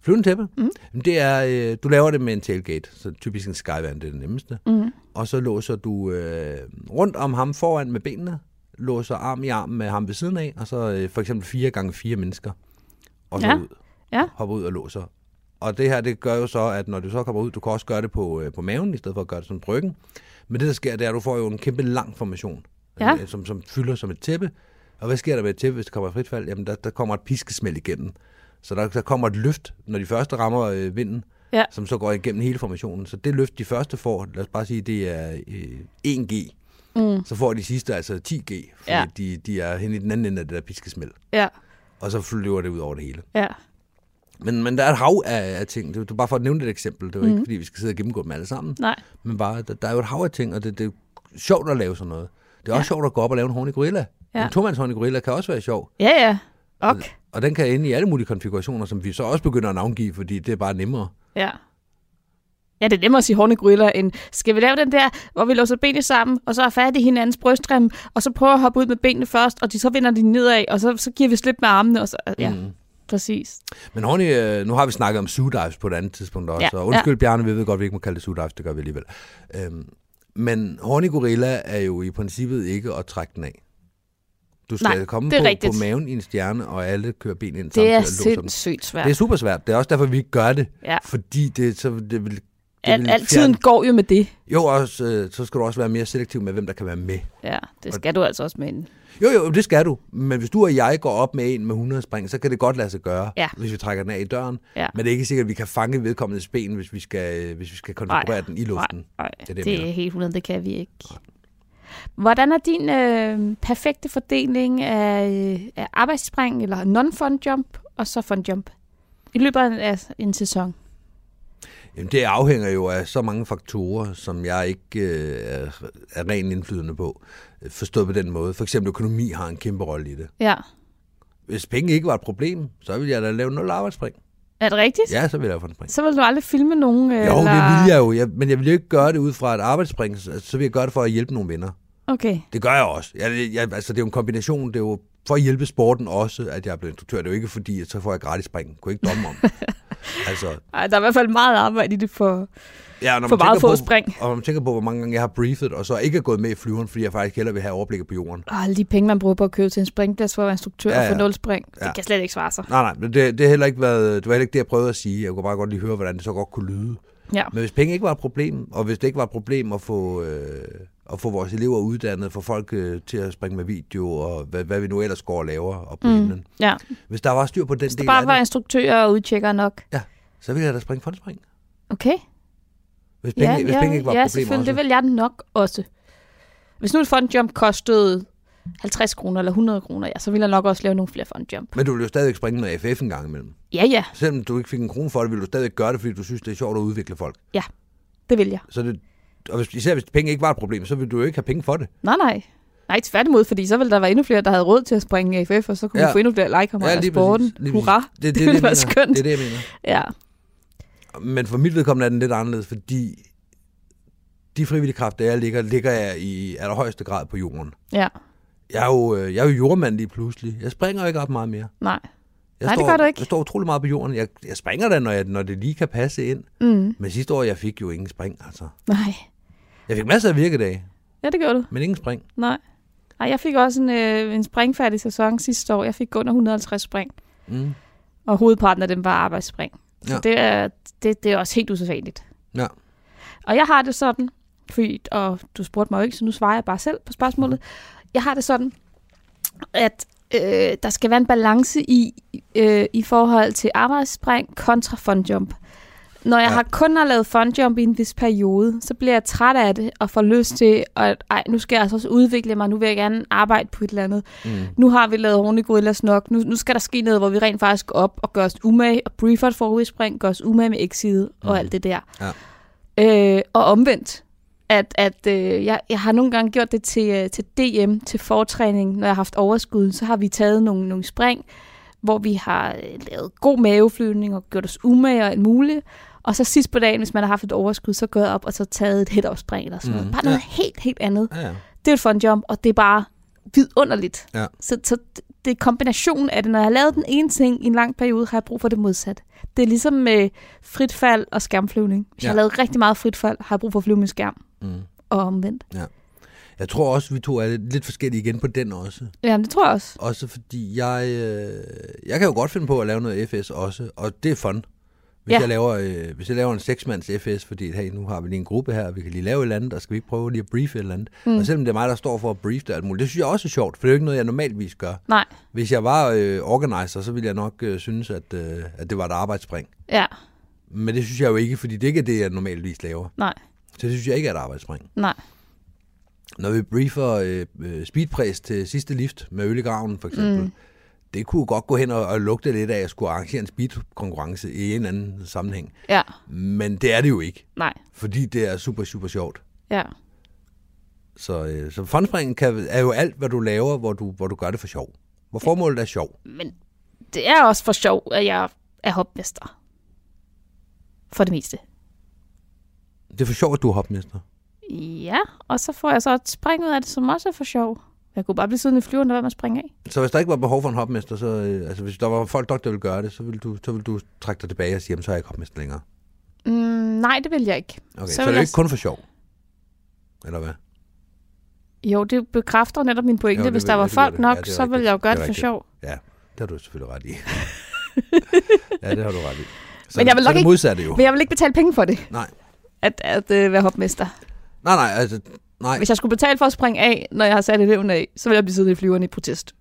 Flyvende tæppe?
Mhm.
Mm. Jamen, det er, øh, du laver det med en tailgate, så typisk en skyvan, det er det nemmeste.
Mm.
Og så låser du øh, rundt om ham foran med benene, låser arm i arm med ham ved siden af, og så øh, for eksempel fire gange fire mennesker. Og så
Ja.
ud.
Ja.
Hopper ud og låser. Og det her, det gør jo så, at når du så kommer ud, du kan også gøre det på, øh, på maven, i stedet for at gøre det sådan på ryggen. Men det, der sker, det er, at du får jo en kæmpe lang formation,
Ja.
øh, som, som fylder som et tæppe. Og hvad sker der med et tæppe, hvis der kommer et frit fald? Jamen, der, der kommer et piskesmæld igennem. Så der, der kommer et løft, når de første rammer øh, vinden,
Ja.
som så går igennem hele formationen. Så det løft, de første får, lad os bare sige, det er øh, 1G.
Mm.
Så får de sidste altså 10G, fordi
Ja.
ja. de, de er hen i den anden ende af det der piskesmæld.
Ja,
Og så flyver det ud over det hele.
ja, men,
Men, men der er et hav af, af ting. Det var- Det var bare for at nævne et eksempel. Det var mm. ikke, fordi vi skal sidde og gennemgå dem alle sammen.
nej,
Men bare, der, der er jo et hav af ting, og det, det er sjovt at lave sådan noget. Det er også sjovt at gå op og lave en horny gorilla.
Ja.
Ja. En tomandshorny gorilla kan også være sjov.
ja, ja, ok,
Og den kan ende i alle mulige konfigurationer, som vi så også begynder at navngive, fordi det er bare nemmere.
ja. Ja, det er nemmere at sige hornegriller, end skal vi lave den der, hvor vi låser benene sammen, og så er fat i hinandens brystrem, og så prøver at hoppe ud med benene først, og de, så vender de nedad, og så, så giver vi slip med armene, og så, ja, mm. præcis.
Men Horny, øh, nu har vi snakket om sudives på et andet tidspunkt også,
Ja,
ja. og undskyld ja. Bjarne, vi ved godt, at vi ikke må kalde det sudives, det gør vi alligevel. Øhm, men Horny Gorilla er jo i princippet ikke at trække den af. Du skal
Nej,
komme
det er
på,
rigtigt.
på maven i en stjerne, og alle kører ben ind
Det
samtidig
er
og låser dem.
sindssygt svært.
Det er super svært. Det er også derfor, vi ikke gør det.
Ja.
Fordi det, så, det vil, det
Al,
vil
al
fjerne-
tiden går jo med det.
Jo, også, øh, så skal du også være mere selektiv med, hvem der kan være med.
Ja, det skal du altså også med en.
Jo, jo, det skal du. Men hvis du og jeg går op med en med 100 spring, så kan det godt lade sig gøre,
Ja.
hvis vi trækker den af i døren.
Ja.
Men det er ikke sikkert, at vi kan fange vedkommendes ben, hvis vi skal, hvis vi skal konfigurere den i luften.
Nej,
er
det,
det,
det
jeg
er helt 100, det kan vi ikke. Hvordan er din øh, perfekte fordeling af, øh, af arbejdsspring, eller non-fun jump, og så fun jump? I løbet af en, en sæson.
Jamen, det afhænger jo af så mange faktorer, som jeg ikke øh, er, er ren indflydende på. Øh, Forstået på den måde. For eksempel økonomi har en kæmpe rolle i det.
Ja.
Hvis penge ikke var et problem, så ville jeg da lave nul arbejdsspring.
Er det rigtigt?
Ja, så ville jeg lave for en spring.
Så vil du aldrig filme nogen? øh,
Jo, det ville jeg jo, jeg, men jeg ville jo ikke gøre det ud fra et arbejdsspring, så så ville jeg gøre det for at hjælpe nogle venner.
Okay.
Det gør jeg også. Jeg, jeg, altså, det er jo en kombination. Det er jo for at hjælpe sporten også, at jeg er blevet instruktør. Det er jo ikke fordi, at så får jeg gratis spring. Kunne jeg ikke drømme om. altså,
Ej, der er i hvert fald meget arbejde i det for...
Ja, og når
For
man
meget
tænker
få
på,
spring.
Og når man tænker på, hvor mange gange jeg har briefet, og så ikke er gået med i flyveren, fordi jeg faktisk hellere vil have overblikket på jorden.
Og alle de penge, man bruger på at købe til en springplads for at være instruktør ja,
Ja,
ja. og få
ja.
nul spring. Ja.
Ja.
Det kan slet ikke svare sig.
Nej, nej, men det, det, har heller ikke været, det var heller ikke det, jeg prøvede at sige. Jeg kunne bare godt lige høre, hvordan det så godt kunne lyde.
Ja.
Men hvis penge ikke var et problem, og hvis det ikke var et problem at få, øh, at få vores elever uddannet, få folk øh, til at springe med video, og hvad, hvad vi nu ellers går og laver op på mm. himlen.
ja.
Hvis der var styr på den
Hvis der
del
bare var
af det,
instruktører og udtjekker nok.
så ville jeg da springe fondspring.
Okay.
Hvis penge,
ja,
hvis
ja,
penge ikke var
ja,
et problem
selvfølgelig.
også.
Det vil jeg nok også. Hvis nu et fondjump kostede 50 kroner eller 100 kroner, ja, så ville jeg nok også lave nogle flere fondjump.
Men du ville jo stadigvæk springe noget AFF en gang imellem.
Ja, ja,
Selvom du ikke fik en krone for det, ville du stadigvæk gøre det, fordi du synes, det er sjovt at udvikle folk.
det vil jeg.
Så det, og hvis, især hvis penge ikke var et problem, så ville du jo ikke have penge for det.
Nej, nej. Nej, tværtimod, fordi så ville der være endnu flere, der havde råd til at springe AFF, og så kunne ja.
Ja.
vi få endnu flere lejkammerater ja, af sporten.
Lige præcis.
Hurra.
Det, det,
ville
jeg
være
mener.
skønt.
Det er det, jeg mener.
Ja.
Men for mit vedkommende er den lidt anderledes, fordi de frivillige kræfter, jeg ligger, ligger jeg i allerhøjeste grad på jorden.
ja,
Jeg er jo, øh, jeg er jo jordmand lige pludselig. Jeg springer jo ikke ret meget mere.
nej.
Jeg
Nej, det
står,
gør du ikke.
Jeg står utrolig meget på jorden. Jeg, jeg springer da, når, jeg, når det lige kan passe ind.
Mm,
Men sidste år, jeg fik jo ingen spring, altså.
nej.
Jeg fik masser af virkedage,
Ja, det gjorde du.
men ingen spring.
Nej. Nej, jeg fik også en, øh, en springfærdig sæson sidste år. Jeg fik under 150 spring,
Mm.
og hovedparten af dem var arbejdsspring. Så
Ja.
det, er, det, det er også helt usædvanligt.
Ja.
Og jeg har det sådan, fordi, og du spurgte mig jo ikke, så nu svarer jeg bare selv på spørgsmålet. Jeg har det sådan, at øh, der skal være en balance i, øh, i forhold til arbejdsspring kontra fondjump. Når jeg ja.
Ja.
har kun har lavet fondjump i en vis periode, så bliver jeg træt af det og får lyst til, at ej, nu skal jeg altså også udvikle mig, nu vil jeg gerne arbejde på et eller andet. Mm. Nu har vi lavet ordentligt gorillas nok, nu, nu skal der ske noget, hvor vi rent faktisk går op og gør os umage, og briefer et forudspring, gør os umage med exit og alt det der. Øh, og omvendt, at, at øh, jeg, jeg har nogle gange gjort det til, øh, til DM, til fortræning, når jeg har haft overskud, så har vi taget nogle, nogle spring, hvor vi har øh, lavet god maveflyvning og gjort os umage og alt muligt. Og så sidst på dagen, hvis man har haft et overskud, så gået op og så taget et head spring eller sådan noget.
Mhm,
Bare noget helt, helt andet.
Ja, ja.
Det er et fun jump, og det er bare vidunderligt.
Ja.
Så, så det er kombinationen af det. Når jeg har lavet den ene ting i en lang periode, har jeg brug for det modsatte. Det er ligesom med frit fald og skærmflyvning. Hvis ja. jeg
Ja.
har lavet rigtig meget frit fald, har jeg brug for at flyve min skærm.
Mm.
Og omvendt.
Jeg tror også, vi to er lidt lidt forskellige igen på den også.
Jamen, det tror jeg også.
Også fordi jeg, øh, jeg kan jo godt finde på at lave noget FS også, og det er fun. Hvis,
Ja.
ja. jeg laver, øh, hvis jeg laver en seksmands FS, fordi hey, nu har vi lige en gruppe her, og vi kan lige lave et eller andet, og skal vi ikke prøve lige at briefe et eller andet. Mm. Og selvom det er mig, der står for at briefe det og alt muligt, det synes jeg også er sjovt, for det er jo ikke noget, jeg normalvis gør.
Nej.
Hvis jeg var øh, organizer, så ville jeg nok øh, synes, at, øh, at det var et arbejdsspring.
Ja,
Men det synes jeg jo ikke, fordi det ikke er det, jeg normalvis laver.
nej,
Så det synes jeg ikke er et arbejdsspring.
nej.
Når vi briefer øh, øh, speedpress til sidste lift med øl i graven, for eksempel, mm. det kunne jo godt gå hen og, og lugte lidt af, at jeg skulle arrangere en speedkonkurrence i en eller anden sammenhæng.
Ja,
Men det er det jo ikke,
nej,
fordi det er super, super sjovt.
ja.
Så, øh, så fondspringen kan, er jo alt, hvad du laver, hvor du, hvor du gør det for sjov. Hvor formålet er sjov.
Men det er også for sjov, at jeg er hopmester. For det meste.
Det er for sjov, at du er hopmester.
Ja, og så får jeg så et spring ud af det, som også er for sjov. Jeg kunne bare blive siddende i flyveren, der var med at springe af.
Så hvis der ikke var behov for en hopmester, så, øh, altså hvis der var folk nok, der ville gøre det, så ville du, så ville du trække dig tilbage og sige, jamen så er jeg ikke hopmester længere.
Mm, nej, det vil jeg ikke.
Okay, så,
Så
så er
vil
det
jeg
ikke kun for sjov. Eller hvad?
Jo, det bekræfter netop min pointe.
Jo,
Jo,
det
Hvis
vil-
der
ja,
var
det vil-
folk
ja,
nok,
det er
så ville
rigtigt.
jeg jo gøre
Det
det
er
for
rigtigt.
sjov.
Ja, det har du selvfølgelig ret i. ja, det har du ret i. Så,
Men jeg vil
så
nok
det
ikke-
modsatte jo.
Men jeg vil ikke betale penge for det,
Nej,
at, at øh, være hopmester.
nej, nej, altså, nej.
Hvis jeg skulle betale for at springe af, når jeg har sat eleven af, så ville jeg blive siddende i flyveren i protest.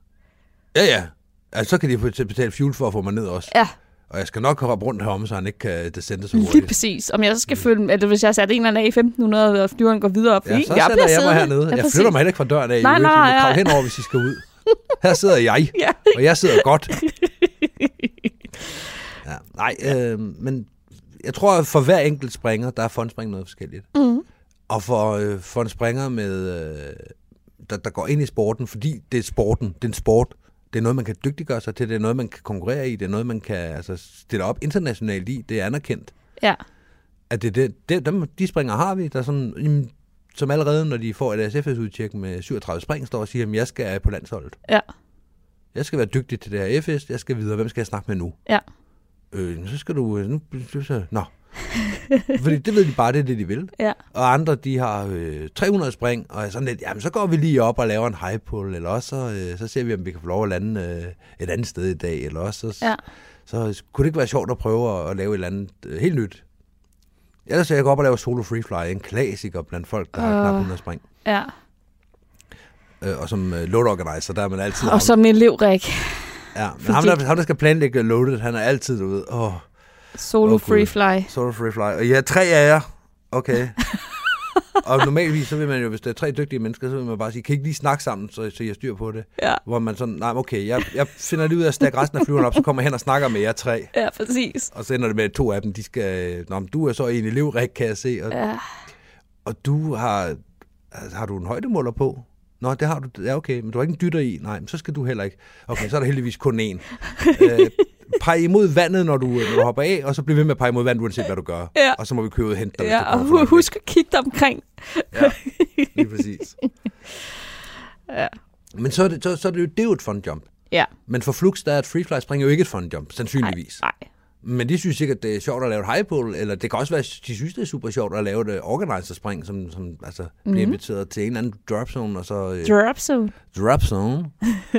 Ja, ja. Altså, så kan de få- betale fuel for at få mig ned også.
Ja,
Og jeg skal nok hoppe rundt herom, så han ikke kan descende så
lige
hurtigt.
præcis. Om jeg så skal følge, eller hvis jeg har sat en eller anden af i 1500, og flyveren går videre op,
Mm. Ja,
fordi
så jeg
bliver
sætter jeg mig
siddende.
hernede.
Ja,
jeg
præcis.
flytter mig heller ikke fra døren af.
Nej,
Nej, nej,
nej,
nej.
nej.
Kravle henover, hvis I skal ud. Her sidder jeg,
Ja.
og jeg sidder godt. Ja, nej, øh, men jeg tror, at for hver enkelt springer, der er fondspring noget forskelligt. Mm. Og for, øh, for en springer, med, øh, der, der går ind i sporten, fordi det er sporten, det er en sport, det er noget, man kan dygtiggøre sig til, det er noget, man kan konkurrere i, det er noget, man kan altså, stille op internationalt i, det er anerkendt
Ja,
at det, er det, det dem, de springer har vi, der er sådan, jamen, som allerede, når de får et ASFS-udtjek med 37 spring, står og siger, at jeg skal på landsholdet.
Ja.
Jeg skal være dygtig til det her FS, jeg skal videre, hvem skal jeg snakke med nu?
Ja.
Øh, så skal du... øh, Nu, så, nå. Fordi det ved de bare, det er det, de vil.
Ja.
Og andre, de har øh, 300 spring, og er sådan lidt, jamen så går vi lige op og laver en high pull, eller også så, øh, så ser vi, om vi kan få lov at lande øh, et andet sted i dag, eller også så,
Ja.
så kunne det ikke være sjovt at prøve at, at lave et eller andet øh, helt nyt. Ellers så jeg går op og laver solo free fly, en klassiker blandt folk, der har
Åh.
knap 100 spring.
ja.
Øh, og som øh, load organizer, der er man altid
Og
ham.
som elev, Rik.
ja, men
fordi-
ham, der, ham, der skal planlægge loadet, han er altid ude. Åh, oh,
Solo
Åh, Gud.
free fly.
solo free fly. Og ja, tre af jer. Okay. og normalvis, så vil man jo, hvis der er tre dygtige mennesker, så vil man bare sige, kan I ikke lige snakke sammen, så, så jeg styr på det?
Ja.
Hvor man sådan, nej, okay, jeg, jeg finder lige ud af at stakke resten af flyveren op, så kommer jeg hen og snakker med jer tre.
Ja, præcis.
Og så ender det med, at to af dem, de skal... øh, Nå, men du er så en elev, Rik, kan jeg se. Og,
Ja.
og du har... altså, Har du en højdemåler på? Nå, det har du. Ja, okay, men du har ikke en dytter i. Nej, men så skal du heller ikke. Okay, så er der heldigvis kun én. øh, pege imod vandet, når du, når du hopper af, og så bliv ved med at pege imod vandet, uanset hvad du gør.
Ja.
Og så må vi køre ud og hente dig,
Ja, og
hvis du kommer for langt væk.
husk at kigge dig omkring.
Ja, lige præcis.
Ja.
Men så er, det, så, så er det jo, det er jo et fun jump.
Ja.
Men for Flux, der er et freefly spring jo ikke et fun jump, sandsynligvis.
Nej.
Men de synes sikkert, det er sjovt at lave et high pole, eller det kan også være, de synes, det er super sjovt at lave et øh, organizer-spring, som, som altså, mm-hmm.
Mhm.
bliver inviteret til en eller anden drop zone, og så... Øh,
Drop zone.
drop zone?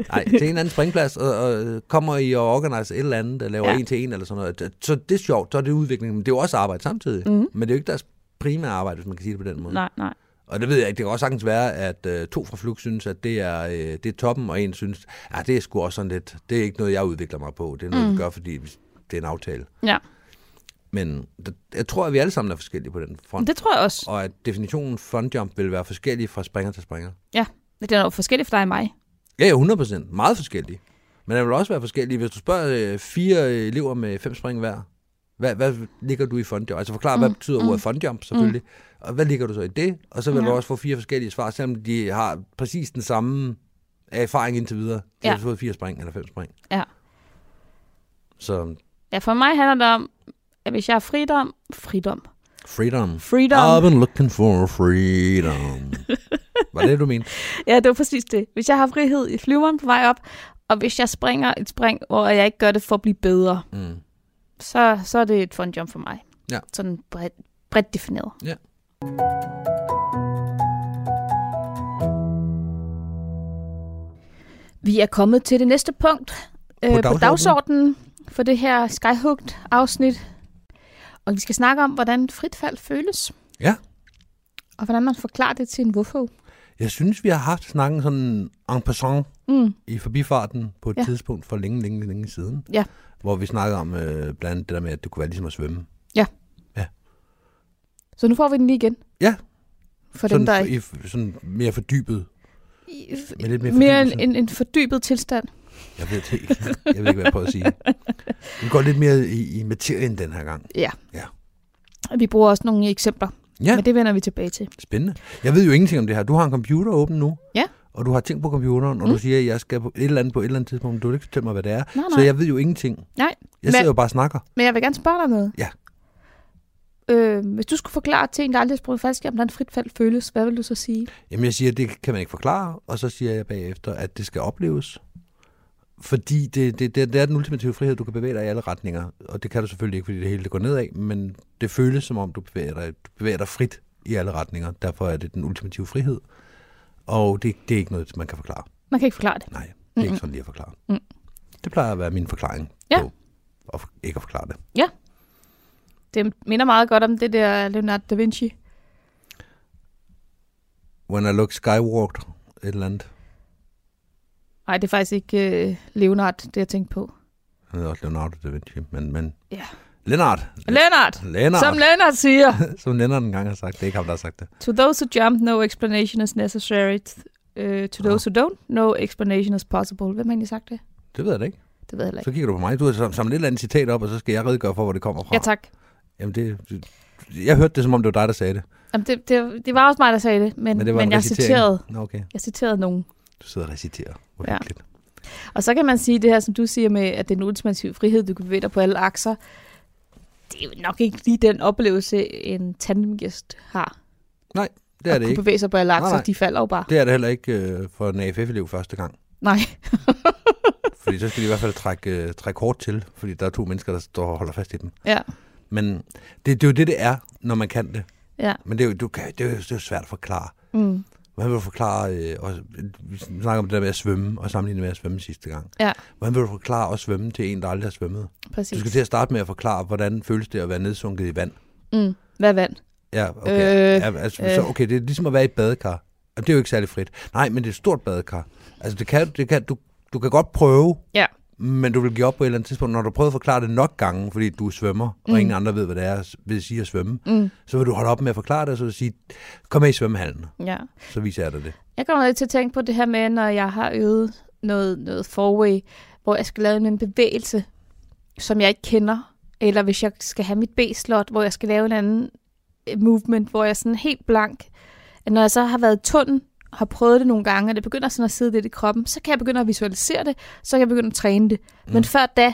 Nej, til en eller anden springplads, og, og øh, kommer I og organiser et eller andet, og laver
Ja.
en til en eller sådan noget. Så det er sjovt, så er det udvikling, men det er jo også arbejde samtidig. Mm-hmm. Men det er jo ikke deres primære arbejde, hvis man kan sige det på den måde.
Mhm. Nej, nej.
Og det ved jeg ikke, det kan også sagtens være, at øh, to fra Flux synes, at det er, øh, det er toppen, og en synes, at det er sgu også sådan lidt, det er ikke noget, jeg udvikler mig på. Det er
Mhm.
noget, mm. vi gør, fordi vi- det er en aftale.
Ja.
Men det, jeg tror, at vi alle sammen er forskellige på den front. Det...
Det tror jeg også.
Og at definitionen fun jump vil være forskellig fra springer til springer.
Ja. Det er jo forskelligt for dig og mig.
Ja, ja, 100 Meget forskellig. Men den vil også være forskellig. Hvis du spørger øh, fire øh, elever med fem spring hver, hvad, hvad ligger du i fun jump? Altså forklar, mm. hvad betyder mm. ordet fun jump selvfølgelig. Og hvad ligger du så i det? Og så vil ja. du også få fire forskellige svar, selvom de har præcis den samme erfaring indtil videre. De
Ja.
ja. har fået fire spring eller fem spring.
Ja.
Så
Ja, for mig handler det om, at hvis jeg har fridom, fridom,
freedom.
freedom,
I've been looking for freedom. Var det, du mente?
ja, det var præcis det. Hvis jeg har frihed i flyveren på vej op, og hvis jeg springer et spring, hvor jeg ikke gør det for at blive bedre,
Mm.
så, så er det et fun jump for mig.
Ja.
Sådan bredt, bredt defineret.
Ja.
Vi er kommet til det næste punkt øh, på,
dagsordenen.
på dagsordenen for det her Skyhooked-afsnit. Og vi skal snakke om, hvordan frit fald føles,
Ja.
og hvordan man forklarer det til en hvorfor.
Jeg synes, vi har haft snakken sådan en passant
Mm.
i forbifarten på et
Ja.
ja. tidspunkt for længe, længe, længe siden.
Ja.
Hvor vi snakkede om øh, blandt andet det der med, at det kunne være ligesom at svømme.
Så nu får vi den lige igen.
Ja.
For
sådan,
dem, der
i, sådan mere fordybet.
ikke...
Med lidt mere,
Mere en,
fordybelse.
en, en fordybet tilstand.
Jeg ved det ikke. Jeg ved ikke, hvad jeg prøver at sige. Vi går lidt mere i, i materien den her gang.
Ja.
Ja.
Vi bruger også nogle eksempler,
Ja,
men det vender vi tilbage til.
spændende. Jeg ved jo ingenting om det her. Du har en computer åben nu.
Ja.
Og du har ting på computeren, og mm. du siger, at jeg skal på et eller andet på et eller andet tidspunkt. men Du vil ikke fortælle mig, hvad det er.
Nej,
Så
nej.
jeg ved jo ingenting.
Nej,
Jeg sidder jo bare og snakker.
men jeg vil gerne spørge dig om noget.
Ja.
Øh, hvis du skulle forklare til en, der aldrig har sprunget faldskærm, hvordan frit fald føles, hvad vil du så sige?
Jamen jeg siger, det kan man ikke forklare, og så siger jeg bagefter, at det skal opleves. Fordi det, det, det, det er den ultimative frihed, du kan bevæge dig i alle retninger. Og det kan du selvfølgelig ikke, fordi det hele det går nedad, men det føles som om, du bevæger dig, du bevæger dig frit i alle retninger. Derfor er det den ultimative frihed. Og det, det er ikke noget, man kan forklare.
Man kan ikke forklare det.
Nej, det er ikke sådan lige at forklare. Mm. Det plejer at være min forklaring
Ja.
på at, for- ikke at forklare det.
Det minder meget godt om det der Leonardo da Vinci.
When I look skywalked, et eller andet.
Nej, det er faktisk ikke øh, Leonardo, det jeg tænkte på.
Han hedder også Leonardo da Vinci, men... men
Ja.
Leonard!
Leonard!
Leonard!
Som Leonard siger!
Som Lennart engang har sagt. Det er ikke ham, der har sagt det.
To those who jump, no explanation is necessary. Uh, to those who don't, no explanation is possible. Hvem har egentlig sagt det?
Det ved jeg da ikke.
Det ved jeg heller
Så
ikke.
kigger du på mig. Du har sam- samlet et eller andet citat op, og så skal jeg redegøre for, hvor det kommer fra.
Ja, tak.
Jamen, det, det- jeg hørte det, som om det var dig, der sagde det.
Jamen, det, det, det var også mig, der sagde det, men,
Men
men,
det var
men
en
jeg,
recitering.
citerede,
Nå, okay.
jeg citerede nogen.
Du sidder og reciterer. Hvor
Ja.
ja.
Og så kan man sige det her, som du siger med, at det er en ultimativ frihed, du kan bevæge dig på alle akser. Det er jo nok ikke lige den oplevelse, en tandemgæst har.
Nej, Det er
at
det
kunne
ikke.
bevæge sig på alle
Nej,
akser,
nej.
de falder jo bare.
Det er det heller ikke øh, for en AFF-elev første gang.
Nej.
Fordi så skal de i hvert fald trække, øh, trække hårdt til, fordi der er to mennesker, der står og holder fast i den.
Ja.
Men det, det er jo det, det er, når man kan det.
Ja.
Men det er jo, du kan, det er jo, det er jo svært at forklare.
Mm.
Hvordan vil du forklare, øh, og, vi snakker om det der med at svømme, og sammenligne med at svømme sidste gang.
Ja.
Hvordan vil du forklare at svømme til en, der aldrig har svømmet? Du
Præcis.
skal til at starte med at forklare, hvordan føles det at være nedsunket i vand?
Mm. Hvad er vand?
Ja, okay.
Øh,
ja, altså, øh. så,
øh.
okay, det er ligesom at være i et badekar. Og det er jo ikke særlig frit. Nej, men det er et stort badekar. Altså, det kan, det kan, du, du kan godt prøve,
Ja.
men du vil give op på et eller andet tidspunkt. Når du prøver at forklare det nok gange, fordi du er svømmer, mm. og ingen andre ved, hvad det er, s- vil sige at svømme,
Mm.
så vil du holde op med at forklare det, og så vil du sige, kom med i svømmehallen,
Ja.
så viser jeg dig det.
Jeg kommer lidt til at tænke på det her med, når jeg har øvet noget, noget forway, hvor jeg skal lave en bevægelse, som jeg ikke kender. Eller hvis jeg skal have mit B-slot, hvor jeg skal lave en anden øh, movement, hvor jeg er sådan helt blank. At når jeg så har været i tunden, og har prøvet det nogle gange, og det begynder sådan at sidde lidt i kroppen, så kan jeg begynde at visualisere det, så kan jeg begynde at træne det. Mm. Men før da,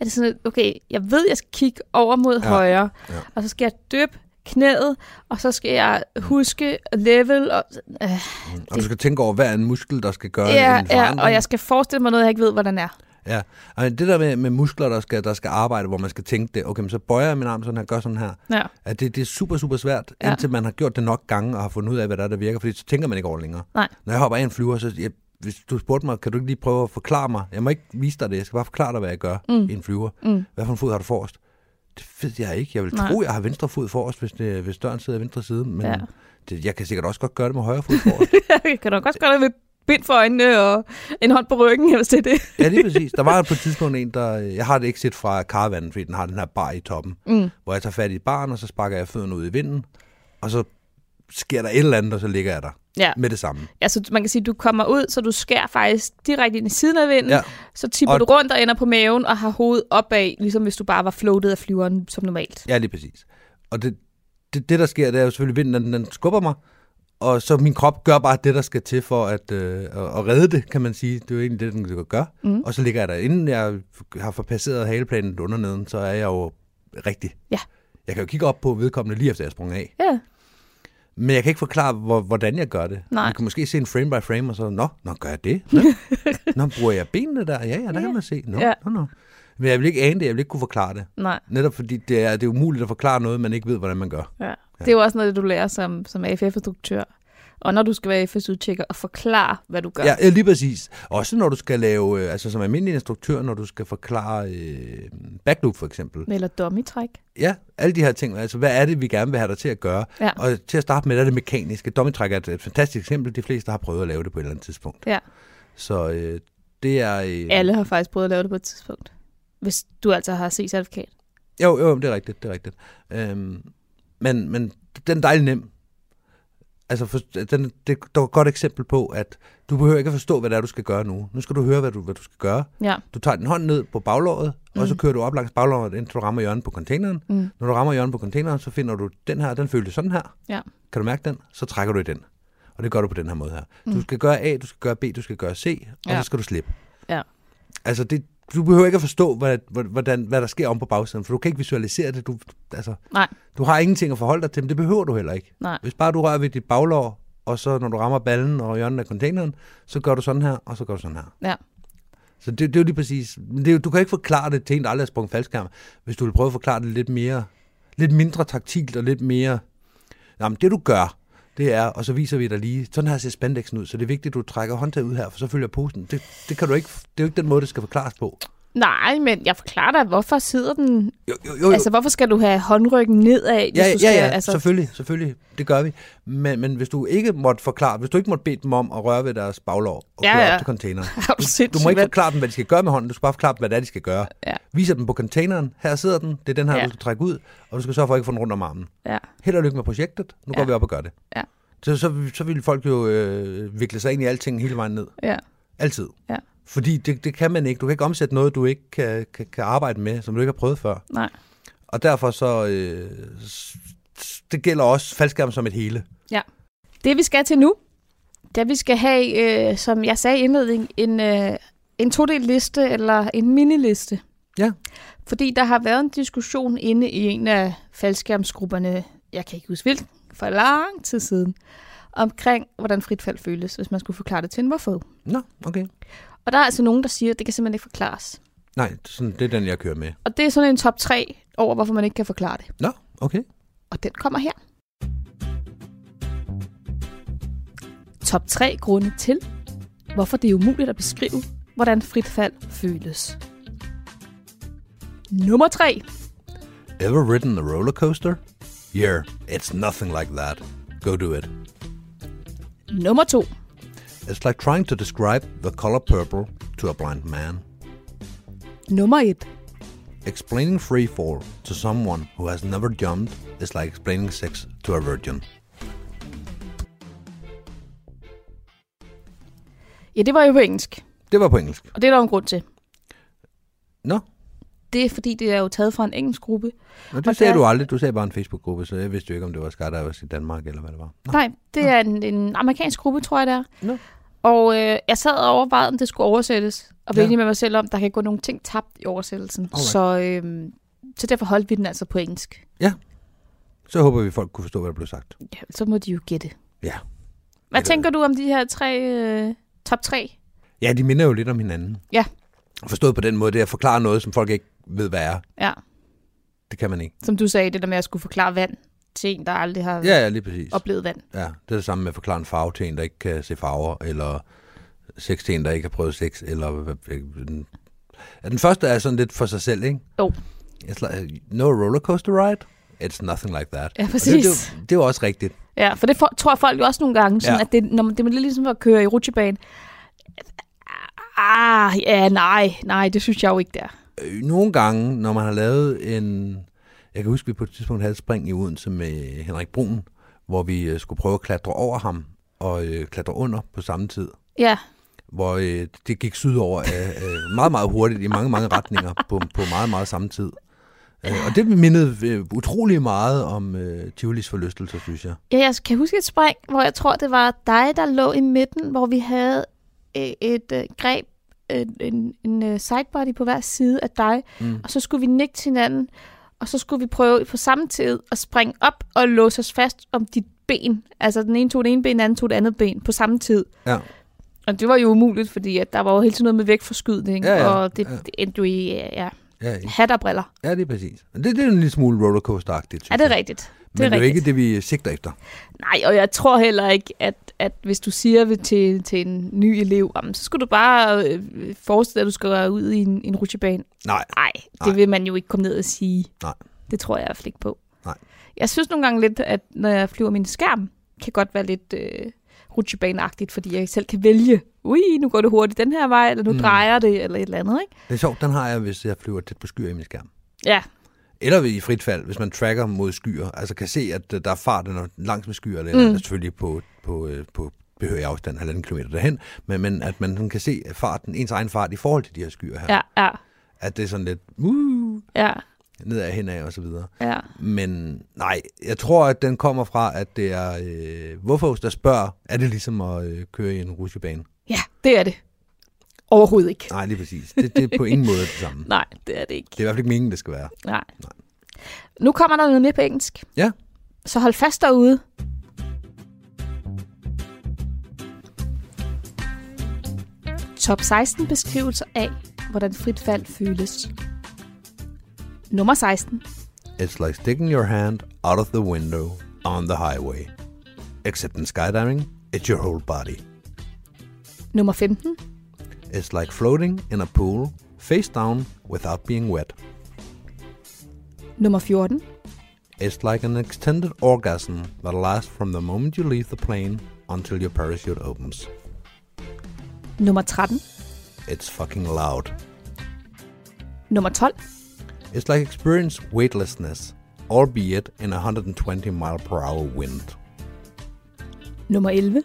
er det sådan, at okay, jeg ved, jeg skal kigge over mod
Ja.
ja. højre,
Ja.
ja. og så skal jeg døbe knæet, og så skal jeg huske level, og øh,
Mm. Og du skal tænke over, hvad er en muskel, der skal gøre
Ja,
en forandring.
ja, og jeg skal forestille mig noget, jeg ikke ved, hvordan er.
Ja, og det der med, med muskler, der skal, der skal arbejde, hvor man skal tænke det, okay, men så bøjer jeg min arm sådan her, gør sådan her.
Ja.
At det, det er super, super svært, ja.
Ja.
indtil man har gjort det nok gange og har fundet ud af, hvad der, er, der virker, fordi så tænker man ikke over det længere.
Nej.
Når jeg hopper af en flyver, så jeg, hvis du spurgte mig, kan du ikke lige prøve at forklare mig? Jeg må ikke vise dig det, jeg skal bare forklare dig, hvad jeg gør mm. i en flyver. Mm. Hvad for en fod har du forrest? Det ved jeg ikke. Jeg vil Nej.
Nej.
tro, jeg har venstre fod forrest, hvis, det, hvis døren sidder i venstre side, men ja.
Ja.
det, jeg kan sikkert også godt gøre det med højre fod forrest.
jeg kan nok også gøre det med bind for øjnene og en hånd på ryggen, hvis det er det.
ja, lige præcis. Der var på et tidspunkt en, der... øh, Jeg har det ikke set fra karavanen, fordi den har den her bar i toppen, mm. hvor jeg tager fat i baren, og så sparker jeg fødderne ud i vinden, og så sker der et eller andet, og så ligger jeg der.
Ja,
med det samme.
altså man kan sige, at du kommer ud, så du skærer faktisk direkte ind i siden af vinden,
Ja.
ja. så tipper
Og-
og... du rundt og ender på maven og har hovedet opad, ligesom hvis du bare var floatet af flyveren som normalt.
Ja, lige præcis. Og det, det, det der sker, det er jo selvfølgelig, vinden den, den skubber mig, og så min krop gør bare det, der skal til for at, øh, at at redde det, kan man sige. Det er jo egentlig det, den gør. Mm. Og så ligger jeg der. Inden jeg har forpasseret haleplanen under neden, så er jeg jo rigtig.
Ja.
Jeg kan jo kigge op på vedkommende lige efter, jeg sprang af.
Ja,
Men jeg kan ikke forklare, hvor, hvordan jeg gør det.
Nej.
Jeg kan måske se en frame by frame, og så, nå, nå gør jeg det? Nå, nå bruger jeg benene der? Ja, ja, der kan man se. Nå,
Ja.
nå, nå. Men jeg vil ikke ane det, jeg vil ikke kunne forklare det.
nej.
Netop fordi det er, det er umuligt at forklare noget, man ikke ved, hvordan man gør.
Ja. Det er jo også noget, af det, du lærer som, som AFF-instruktør. Og når du skal være AFF-udtjekker og forklare, hvad du gør.
Ja, ja lige præcis. Også når du skal lave, øh, altså som almindelig instruktør, når du skal forklare øh, backloop for eksempel.
Eller dummy-træk.
Ja, alle de her ting. Altså, hvad er det, vi gerne vil have dig til at gøre?
Ja.
Og til at starte med, der er det mekaniske. Dommetræk er et, et fantastisk eksempel. De fleste har prøvet at lave det på et eller andet tidspunkt.
Ja.
Så øh, det er... Øh,
Alle har faktisk prøvet at lave det på et tidspunkt. Hvis du altså har set certifikat.
Jo, jo, det er rigtigt, det er rigtigt. Øhm, men, men den er dejlig nem. Altså, for, den, det er et godt eksempel på, at du behøver ikke at forstå, hvad det er, du skal gøre nu. Nu skal du høre, hvad du, hvad du skal gøre.
Ja.
Du tager din hånd ned på baglåret, mm. og så kører du op langs baglåret, indtil du rammer hjørnet på containeren.
Mm.
Når du rammer hjørnet på containeren, så finder du den her, den føles sådan her.
Ja.
Kan du mærke den? Så trækker du i den. Og det gør du på den her måde her. Mm. Du skal gøre A, du skal gøre B, du skal gøre C, og ja.
Ja.
så skal du slippe.
Ja.
Altså, det, du behøver ikke at forstå, hvad, hvordan, hvad der sker om på bagsiden, for du kan ikke visualisere det. Du, altså,
Nej.
du har ingenting at forholde dig til, men det behøver du heller ikke.
Nej.
Hvis bare du rører ved dit baglår, og så når du rammer ballen og hjørnet af containeren, så gør du sådan her, og så gør du sådan her.
Ja.
Så det, det er jo lige præcis... men Det er, jo- du kan ikke forklare det til en, der aldrig har sprunget faldskærm, hvis du vil prøve at forklare det lidt mere... Lidt mindre taktilt og lidt mere... Jamen, det du gør, det er, og så viser vi dig lige, sådan her ser spandexen ud, så det er vigtigt, at du trækker håndtaget ud her, for så følger posen. Det, det, kan du ikke, det er jo ikke den måde, det skal forklares på.
Nej, men jeg forklarer dig, hvorfor sidder den...
Jo, jo, jo. jo.
Altså, hvorfor skal du have håndryggen nedad, hvis
Øh. ja,
du
ja,
skal...
ja, altså...
altså,
selvfølgelig, selvfølgelig, det gør vi. Men, men hvis du ikke måtte forklare, hvis du ikke måtte bede dem om at røre ved deres baglov og
Ja,
køre
ja.
op til containeren,
er du
Du
sindssyg,
må ikke
mand?
forklare dem, hvad de skal gøre med hånden. Du skal bare forklare dem, hvad det er, de skal gøre.
Ja.
Viser dem på containeren. Her sidder den. Det er den her, ja.
Ja.
du skal trække ud. Og du skal sørge for ikke at få den rundt om armen.
Ja,
Held og lykke med projektet. Nu ja. går
Ja.
vi op og gør det.
Ja.
Så, så, så vil folk jo øh, vikle sig ind i alting hele vejen ned.
ja,
Altid.
Ja.
Fordi det, det kan man ikke. Du kan ikke omsætte noget, du ikke kan, kan, kan arbejde med, som du ikke har prøvet før.
nej.
Og derfor så... Øh, s- s- det gælder også faldskærmen som et hele.
Det, vi skal til nu, det er, vi skal have, øh, som jeg sagde i indledningen, en, øh, en todel liste eller en miniliste.
Ja.
Fordi der har været en diskussion inde i en af faldskærmsgrupperne, jeg kan ikke huske hvilken, for lang tid siden, omkring, hvordan fritfald føles, hvis man skulle forklare det til en morfod.
Nå, okay.
Og der er altså nogen, der siger, at det kan simpelthen ikke forklares.
Nej, sådan, det er den, jeg kører med.
Og det er sådan en top 3 over, hvorfor man ikke kan forklare det.
Nå, okay.
Og den kommer her. Top 3 grunde til, hvorfor det er umuligt at beskrive, hvordan fritfald føles. Nummer 3.
Ever ridden a roller coaster? Yeah, it's nothing like that. Go do it.
Nummer 2.
It's like trying to describe the color purple to a blind man.
Nummer 1.
Explaining free fall to someone who has never jumped is like explaining sex to a virgin.
Ja, det var jo på engelsk,
Det var på engelsk.
og det er der jo en grund til.
Nå,
Det er fordi, det er jo taget fra en engelsk gruppe.
Nå
Og
det sagde
der-
du aldrig. Du sagde bare en Facebook-gruppe, så jeg vidste jo ikke, om det var Skat, der var i Danmark, eller hvad det var. Nå.
Nej, det er en, en amerikansk gruppe, tror jeg, det er.
Nå.
Og øh, jeg sad og overvejede, om det skulle oversættes, og
Ja.
blev ja. enig med mig selv om, der kan gå nogle ting tabt i oversættelsen.
Alright.
Så, øh, så derfor holdt vi den altså på engelsk.
Så håber vi, folk kunne forstå, hvad der blev sagt.
Ja, så må de jo gætte.
Ja.
Hvad
Eller-
tænker du om de her tre, øh, top tre?
Ja, de minder jo lidt om hinanden.
Ja.
Forstået på den måde, det er at forklare noget, som folk ikke ved, hvad er.
Ja,
Det kan man ikke.
som du sagde, det der med at skulle forklare vand til en, der aldrig har
Ja, ja, lige præcis.
oplevet vand.
Ja, det er det samme med at forklare en farve til en, der ikke kan se farver, eller sex til en, der ikke har prøvet sex, eller... hvad- hvad- den- Ja, den første er sådan lidt for sig selv, ikke?
Jo.
It's like, no rollercoaster ride? It's nothing like that.
Ja,
Og Det,
præcis.
det, er jo- det er jo også rigtigt.
Ja, for det for, tror folk jo også nogle gange, sådan,
Ja.
ja. at det, når man, det er lidt ligesom at køre i rutsjebane. Ah, ja, nej, nej, det synes jeg jo ikke, det er.
øh, nogle gange, når man har lavet en... Jeg kan huske, vi på et tidspunkt havde et spring i Odense med Henrik Brun, hvor vi øh, skulle prøve at klatre over ham og øh, klatre under på samme tid.
Ja,
Hvor øh, det gik sydover øh, øh, meget, meget hurtigt i mange, mange retninger på, på meget, meget samme tid. Øh, og det mindede øh, utrolig meget om øh, Tivolis forlystelser, synes jeg.
Ja, jeg kan huske et spring, hvor jeg tror, det var dig, der lå i midten, hvor vi havde øh, et øh, greb, øh, en, en øh, sidebody på hver side af dig,
Mm.
mm. og så skulle vi nikke til hinanden, og så skulle vi prøve på samme tid at springe op og låse os fast om dit ben. Altså den ene tog det ene ben, den anden tog det andet ben på samme tid.
Ja.
Og det var jo umuligt, fordi at der var jo hele tiden noget med vægtforskydning,
Ja, ja,
og det,
ja.
det endte jo i ja,
Ja, i-
hat og briller.
ja det er præcis. Men Det, det er en lille smule rollercoaster-agtigt, synes
Er det
jeg.
rigtigt?
Men det er jo
rigtigt.
ikke det, vi sigter efter.
Nej, og jeg tror heller ikke, at, at hvis du siger ved- til, til en ny elev, jamen, så skal du bare øh, forestille dig, at du skal ud i en, en rutsjebane.
Nej,
Nej,
Nej.
det vil man jo ikke komme ned og sige.
Nej.
Det tror jeg i hvert fald ikke på.
Nej.
Jeg synes nogle gange lidt, at når jeg flyver min skærm, kan godt være lidt øh, rutsjebaneagtigt, fordi jeg selv kan vælge, ui, nu går det hurtigt den her vej, eller nu
Mm.
mm. drejer det, eller et eller andet, ikke?
det er sjovt. Den har jeg, hvis jeg flyver tæt på skyer i min skærm.
Ja,
Eller i frit fald, hvis man tracker mod skyer, altså kan se, at øh, der er fart når- langs med skyer, eller mm.
Mm.
selvfølgelig på, på, øh, på behørig afstand, halvanden kilometer derhen, men, men at man sådan kan se farten, ens egen fart i forhold til de her skyer her.
ja, ja,
At det er sådan lidt uh,
ja,
nedad, henad og så videre.
ja.
Men nej, jeg tror, at den kommer fra, at det er... Øh, hvorfor der spørger, er det ligesom at øh, køre i en rutsjebane?
Ja, det er det. Overhovedet ikke.
Nej, lige præcis. Det, det er på ingen måde det samme.
Nej, det er det ikke.
Det er i hvert fald ikke meningen, det skal være.
Nej.
Nej.
Nu kommer der noget mere på engelsk.
Ja.
Så hold fast derude. Top 16 beskrivelser af, hvordan frit fald føles. Nummer 16.
It's like sticking your hand out of the window on the highway. Except in skydiving, it's your whole body.
Nummer 15.
It's like floating in a pool, face down without being wet.
Nummer 14.
It's like an extended orgasm that lasts from the moment you leave the plane until your parachute opens.
Nummer 13.
It's fucking loud.
Nummer 12.
It's like experience weightlessness, albeit in a 120 mile per hour wind.
Nummer 11.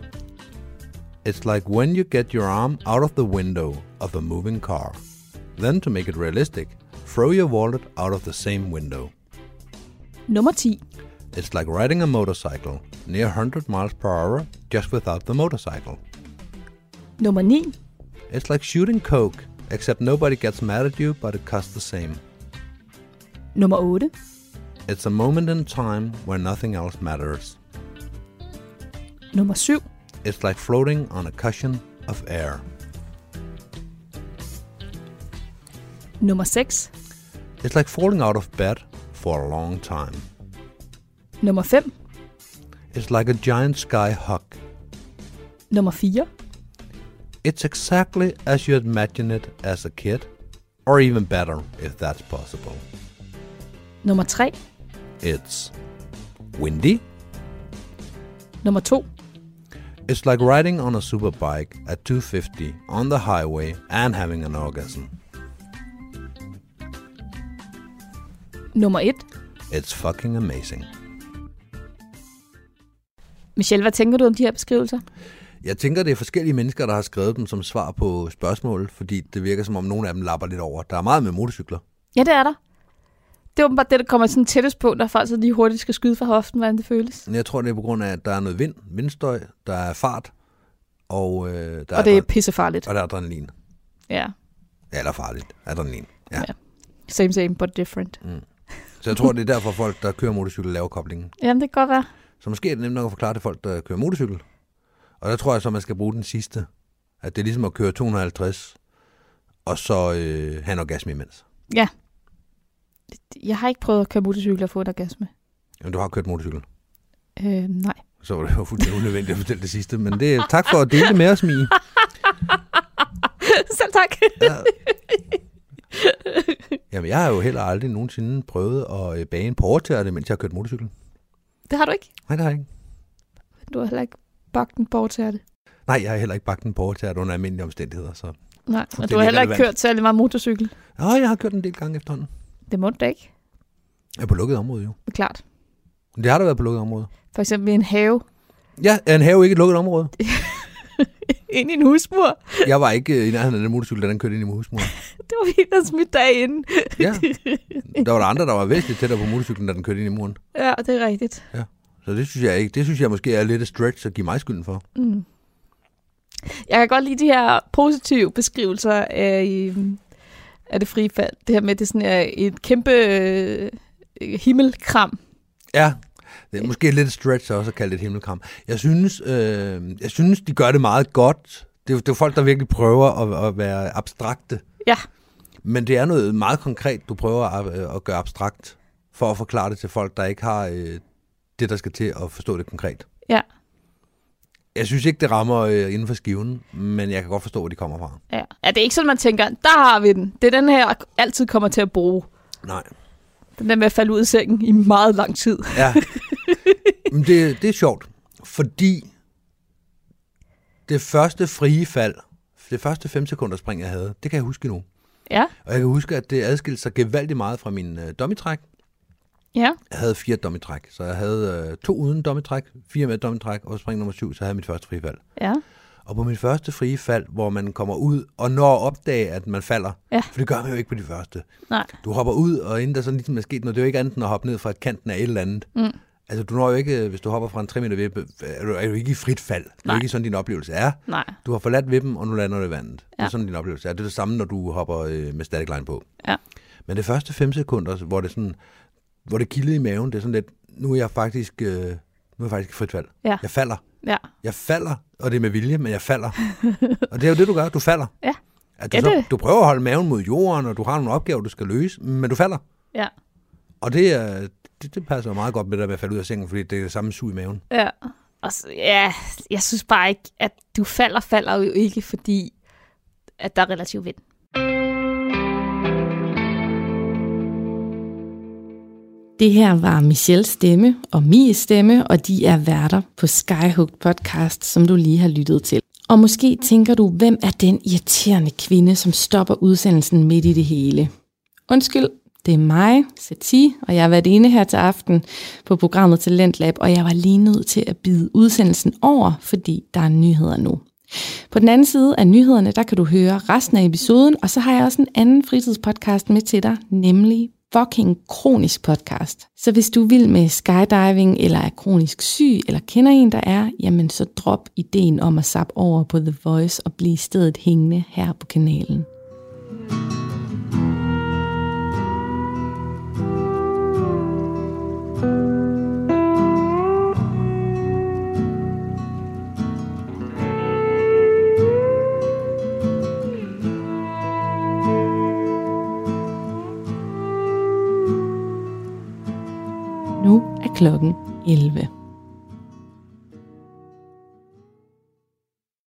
It's like when you get your arm out of the window of a moving car. Then, to make it realistic, throw your wallet out of the same window.
Nummer 10.
It's like riding a motorcycle near 100 miles per hour just without the motorcycle.
Nummer 9.
It's like shooting coke, except nobody gets mad at you, but it costs the same.
Nummer 8.
It's a moment in time where nothing else matters.
Nummer 7.
It's like floating on a cushion of air.
Nummer 6.
It's like falling out of bed for a long time.
Nummer 5.
It's like a giant sky hug.
Nummer 4.
It's exactly as you imagine it as a kid, or even better if that's possible.
Nummer 3.
It's windy.
Nummer 2.
It's like riding on a superbike at 250 on the highway and having an orgasm.
Nummer 1.
It's fucking amazing.
Michelle, hvad tænker du om de her beskrivelser?
Jeg tænker, det er forskellige mennesker, der har skrevet dem som svar på spørgsmål, fordi det virker som om nogle af dem lapper lidt over. Der er meget med motorcykler.
Ja, det er der. Det er åbenbart det, der kommer sådan tættest på, når folk så lige hurtigt skal skyde fra hoften, hvordan det føles.
Men Jeg tror, det er på grund af, at der er noget vind, vindstøj, der er fart, og, øh, der,
Og det er
er
pissefarligt.
og der er adrenalin.
Ja,
Ja, eller farligt. Adrenalin. Ja.
Ja. same same, but different.
Så jeg tror, det er derfor folk, der kører motorcykel, laver koblingen.
Jamen, det kan godt være.
Så måske er det nemt nok at forklare til folk, der kører motorcykel. Og der tror jeg så, man skal bruge den sidste. At det er ligesom at køre 250, og så øh, have en orgasme imens.
Ja. Jeg har ikke prøvet at køre motorcykel og få et orgasme.
Jamen, du har kørt motorcykel.
Øh, nej.
Så var det jo fuldstændig unødvendigt at fortælle det sidste. Men det, tak for at dele det med os, Mie.
Selv tak.
Ja. Jamen, jeg har jo heller aldrig nogensinde prøvet at øh, bage en porretærte, mens jeg har kørt motorcykel.
Det har du ikke.
Nej, det har jeg ikke.
Du har heller ikke bagt den bort til det.
Nej, jeg har heller ikke bagt en porretærte under almindelige omstændigheder. Så.
Nej, og du
Fuldstændig
har heller ikke
irrelevant.
kørt særlig meget motorcykel.
Åh, jeg har kørt en del gange efterhånden.
Det må du da ikke.
Jeg er på lukket område, jo.
Det er klart.
Men det har da været på lukket område.
For eksempel i en have.
Ja, er en have ikke et lukket område?
Ind i en husmur.
Jeg var ikke øh, i nærheden af den motorcykel, da den kørte ind i husmuren.
Det var helt der smidt dig ind.
Ja. Der var der andre, der var væsentligt tættere på motorcyklen, da den kørte ind i muren.
Ja, det er rigtigt.
Så det synes jeg ikke. Det synes jeg måske er lidt et stretch at give mig skylden for.
Mm. Jeg kan godt lide de her positive beskrivelser af, øhm, af det frie fald. Det her med, at det sådan er et kæmpe øh, himmelkram.
Ja, det er måske lidt et stretch også at kalde det et himmelkram. Jeg synes, øh, jeg synes, de gør det meget godt. Det er, jo- det er jo folk, der virkelig prøver at, at være abstrakte.
Ja.
Men det er noget meget konkret, du prøver at, øh, at gøre abstrakt, for at forklare det til folk, der ikke har øh, det, der skal til at forstå det konkret.
Ja.
Jeg synes ikke, det rammer øh, inden for skiven, men jeg kan godt forstå, hvor de kommer fra.
Ja. Er det ikke sådan, man tænker, der har vi den. Det er den her, jeg altid kommer til at bruge.
Nej.
Den der med at falde ud af sengen i meget lang tid.
Ja. Men det, det er sjovt, fordi det første frie fald, det første 5 sekunders spring, jeg havde, det kan jeg huske nu.
Ja,
Og jeg kan huske, at det adskilte sig gevaldigt meget fra min øh, dummitræk.
ja.
Jeg havde fire dummitræk, så jeg havde øh, to uden dummitræk, fire med dummitræk, og på spring nummer syv, så havde jeg mit første frie fald.
Ja.
Og på mit første frie fald, hvor man kommer ud og når at opdage, at man falder,
Ja.
for det gør man jo ikke på de første.
Nej.
Du hopper ud, og inden der sådan ligesom er sket noget, det er jo ikke andet end at hoppe ned fra et kanten af et eller andet. Mm. Altså, du når jo ikke, hvis du hopper fra en 3 meter vippe, er du, er du ikke i frit fald. Det er jo
Nej.
ikke sådan, din oplevelse er.
Nej.
Du har forladt vippen, og nu lander du i vandet. Ja. Det
Ja.
er sådan, din oplevelse er. Det er det samme, når du hopper øh, med static line på.
Ja.
Men det første 5 sekunder, hvor det, sådan, hvor det kildede i maven, det er sådan lidt, nu er jeg faktisk, øh, nu er jeg faktisk i frit fald.
Ja.
Jeg falder.
Ja.
Jeg falder, og det er med vilje, men jeg falder. og det er jo det, du gør. Du falder.
Ja.
At du,
Ja,
så,
det-
du prøver at holde maven mod jorden, og du har nogle opgaver, du skal løse, men du falder.
Ja.
Og det, er- det, det passer jo meget godt med det der med at falde ud af sengen, fordi det er det samme sug i maven.
Ja. Og så, ja, jeg synes bare ikke, at du falder, falder jo ikke, fordi at der er relativ vind.
Det her var Michelles stemme og Mies stemme, og de er værter på Skyhook podcast, som du lige har lyttet til. Og måske tænker du, hvem er den irriterende kvinde, som stopper udsendelsen midt i det hele? Undskyld, det er mig, Sati, og jeg har været inde her til aften på programmet Talent Lab, og jeg var lige nødt til at bide udsendelsen over, fordi der er nyheder nu. På den anden side af nyhederne, der kan du høre resten af episoden, og så har jeg også en anden fritidspodcast med til dig, nemlig fucking kronisk podcast. Så hvis du vil med skydiving, eller er kronisk syg, eller kender en, der er, jamen så drop ideen om at sappe over på The Voice og blive i stedet hængende her på kanalen. klokken 11.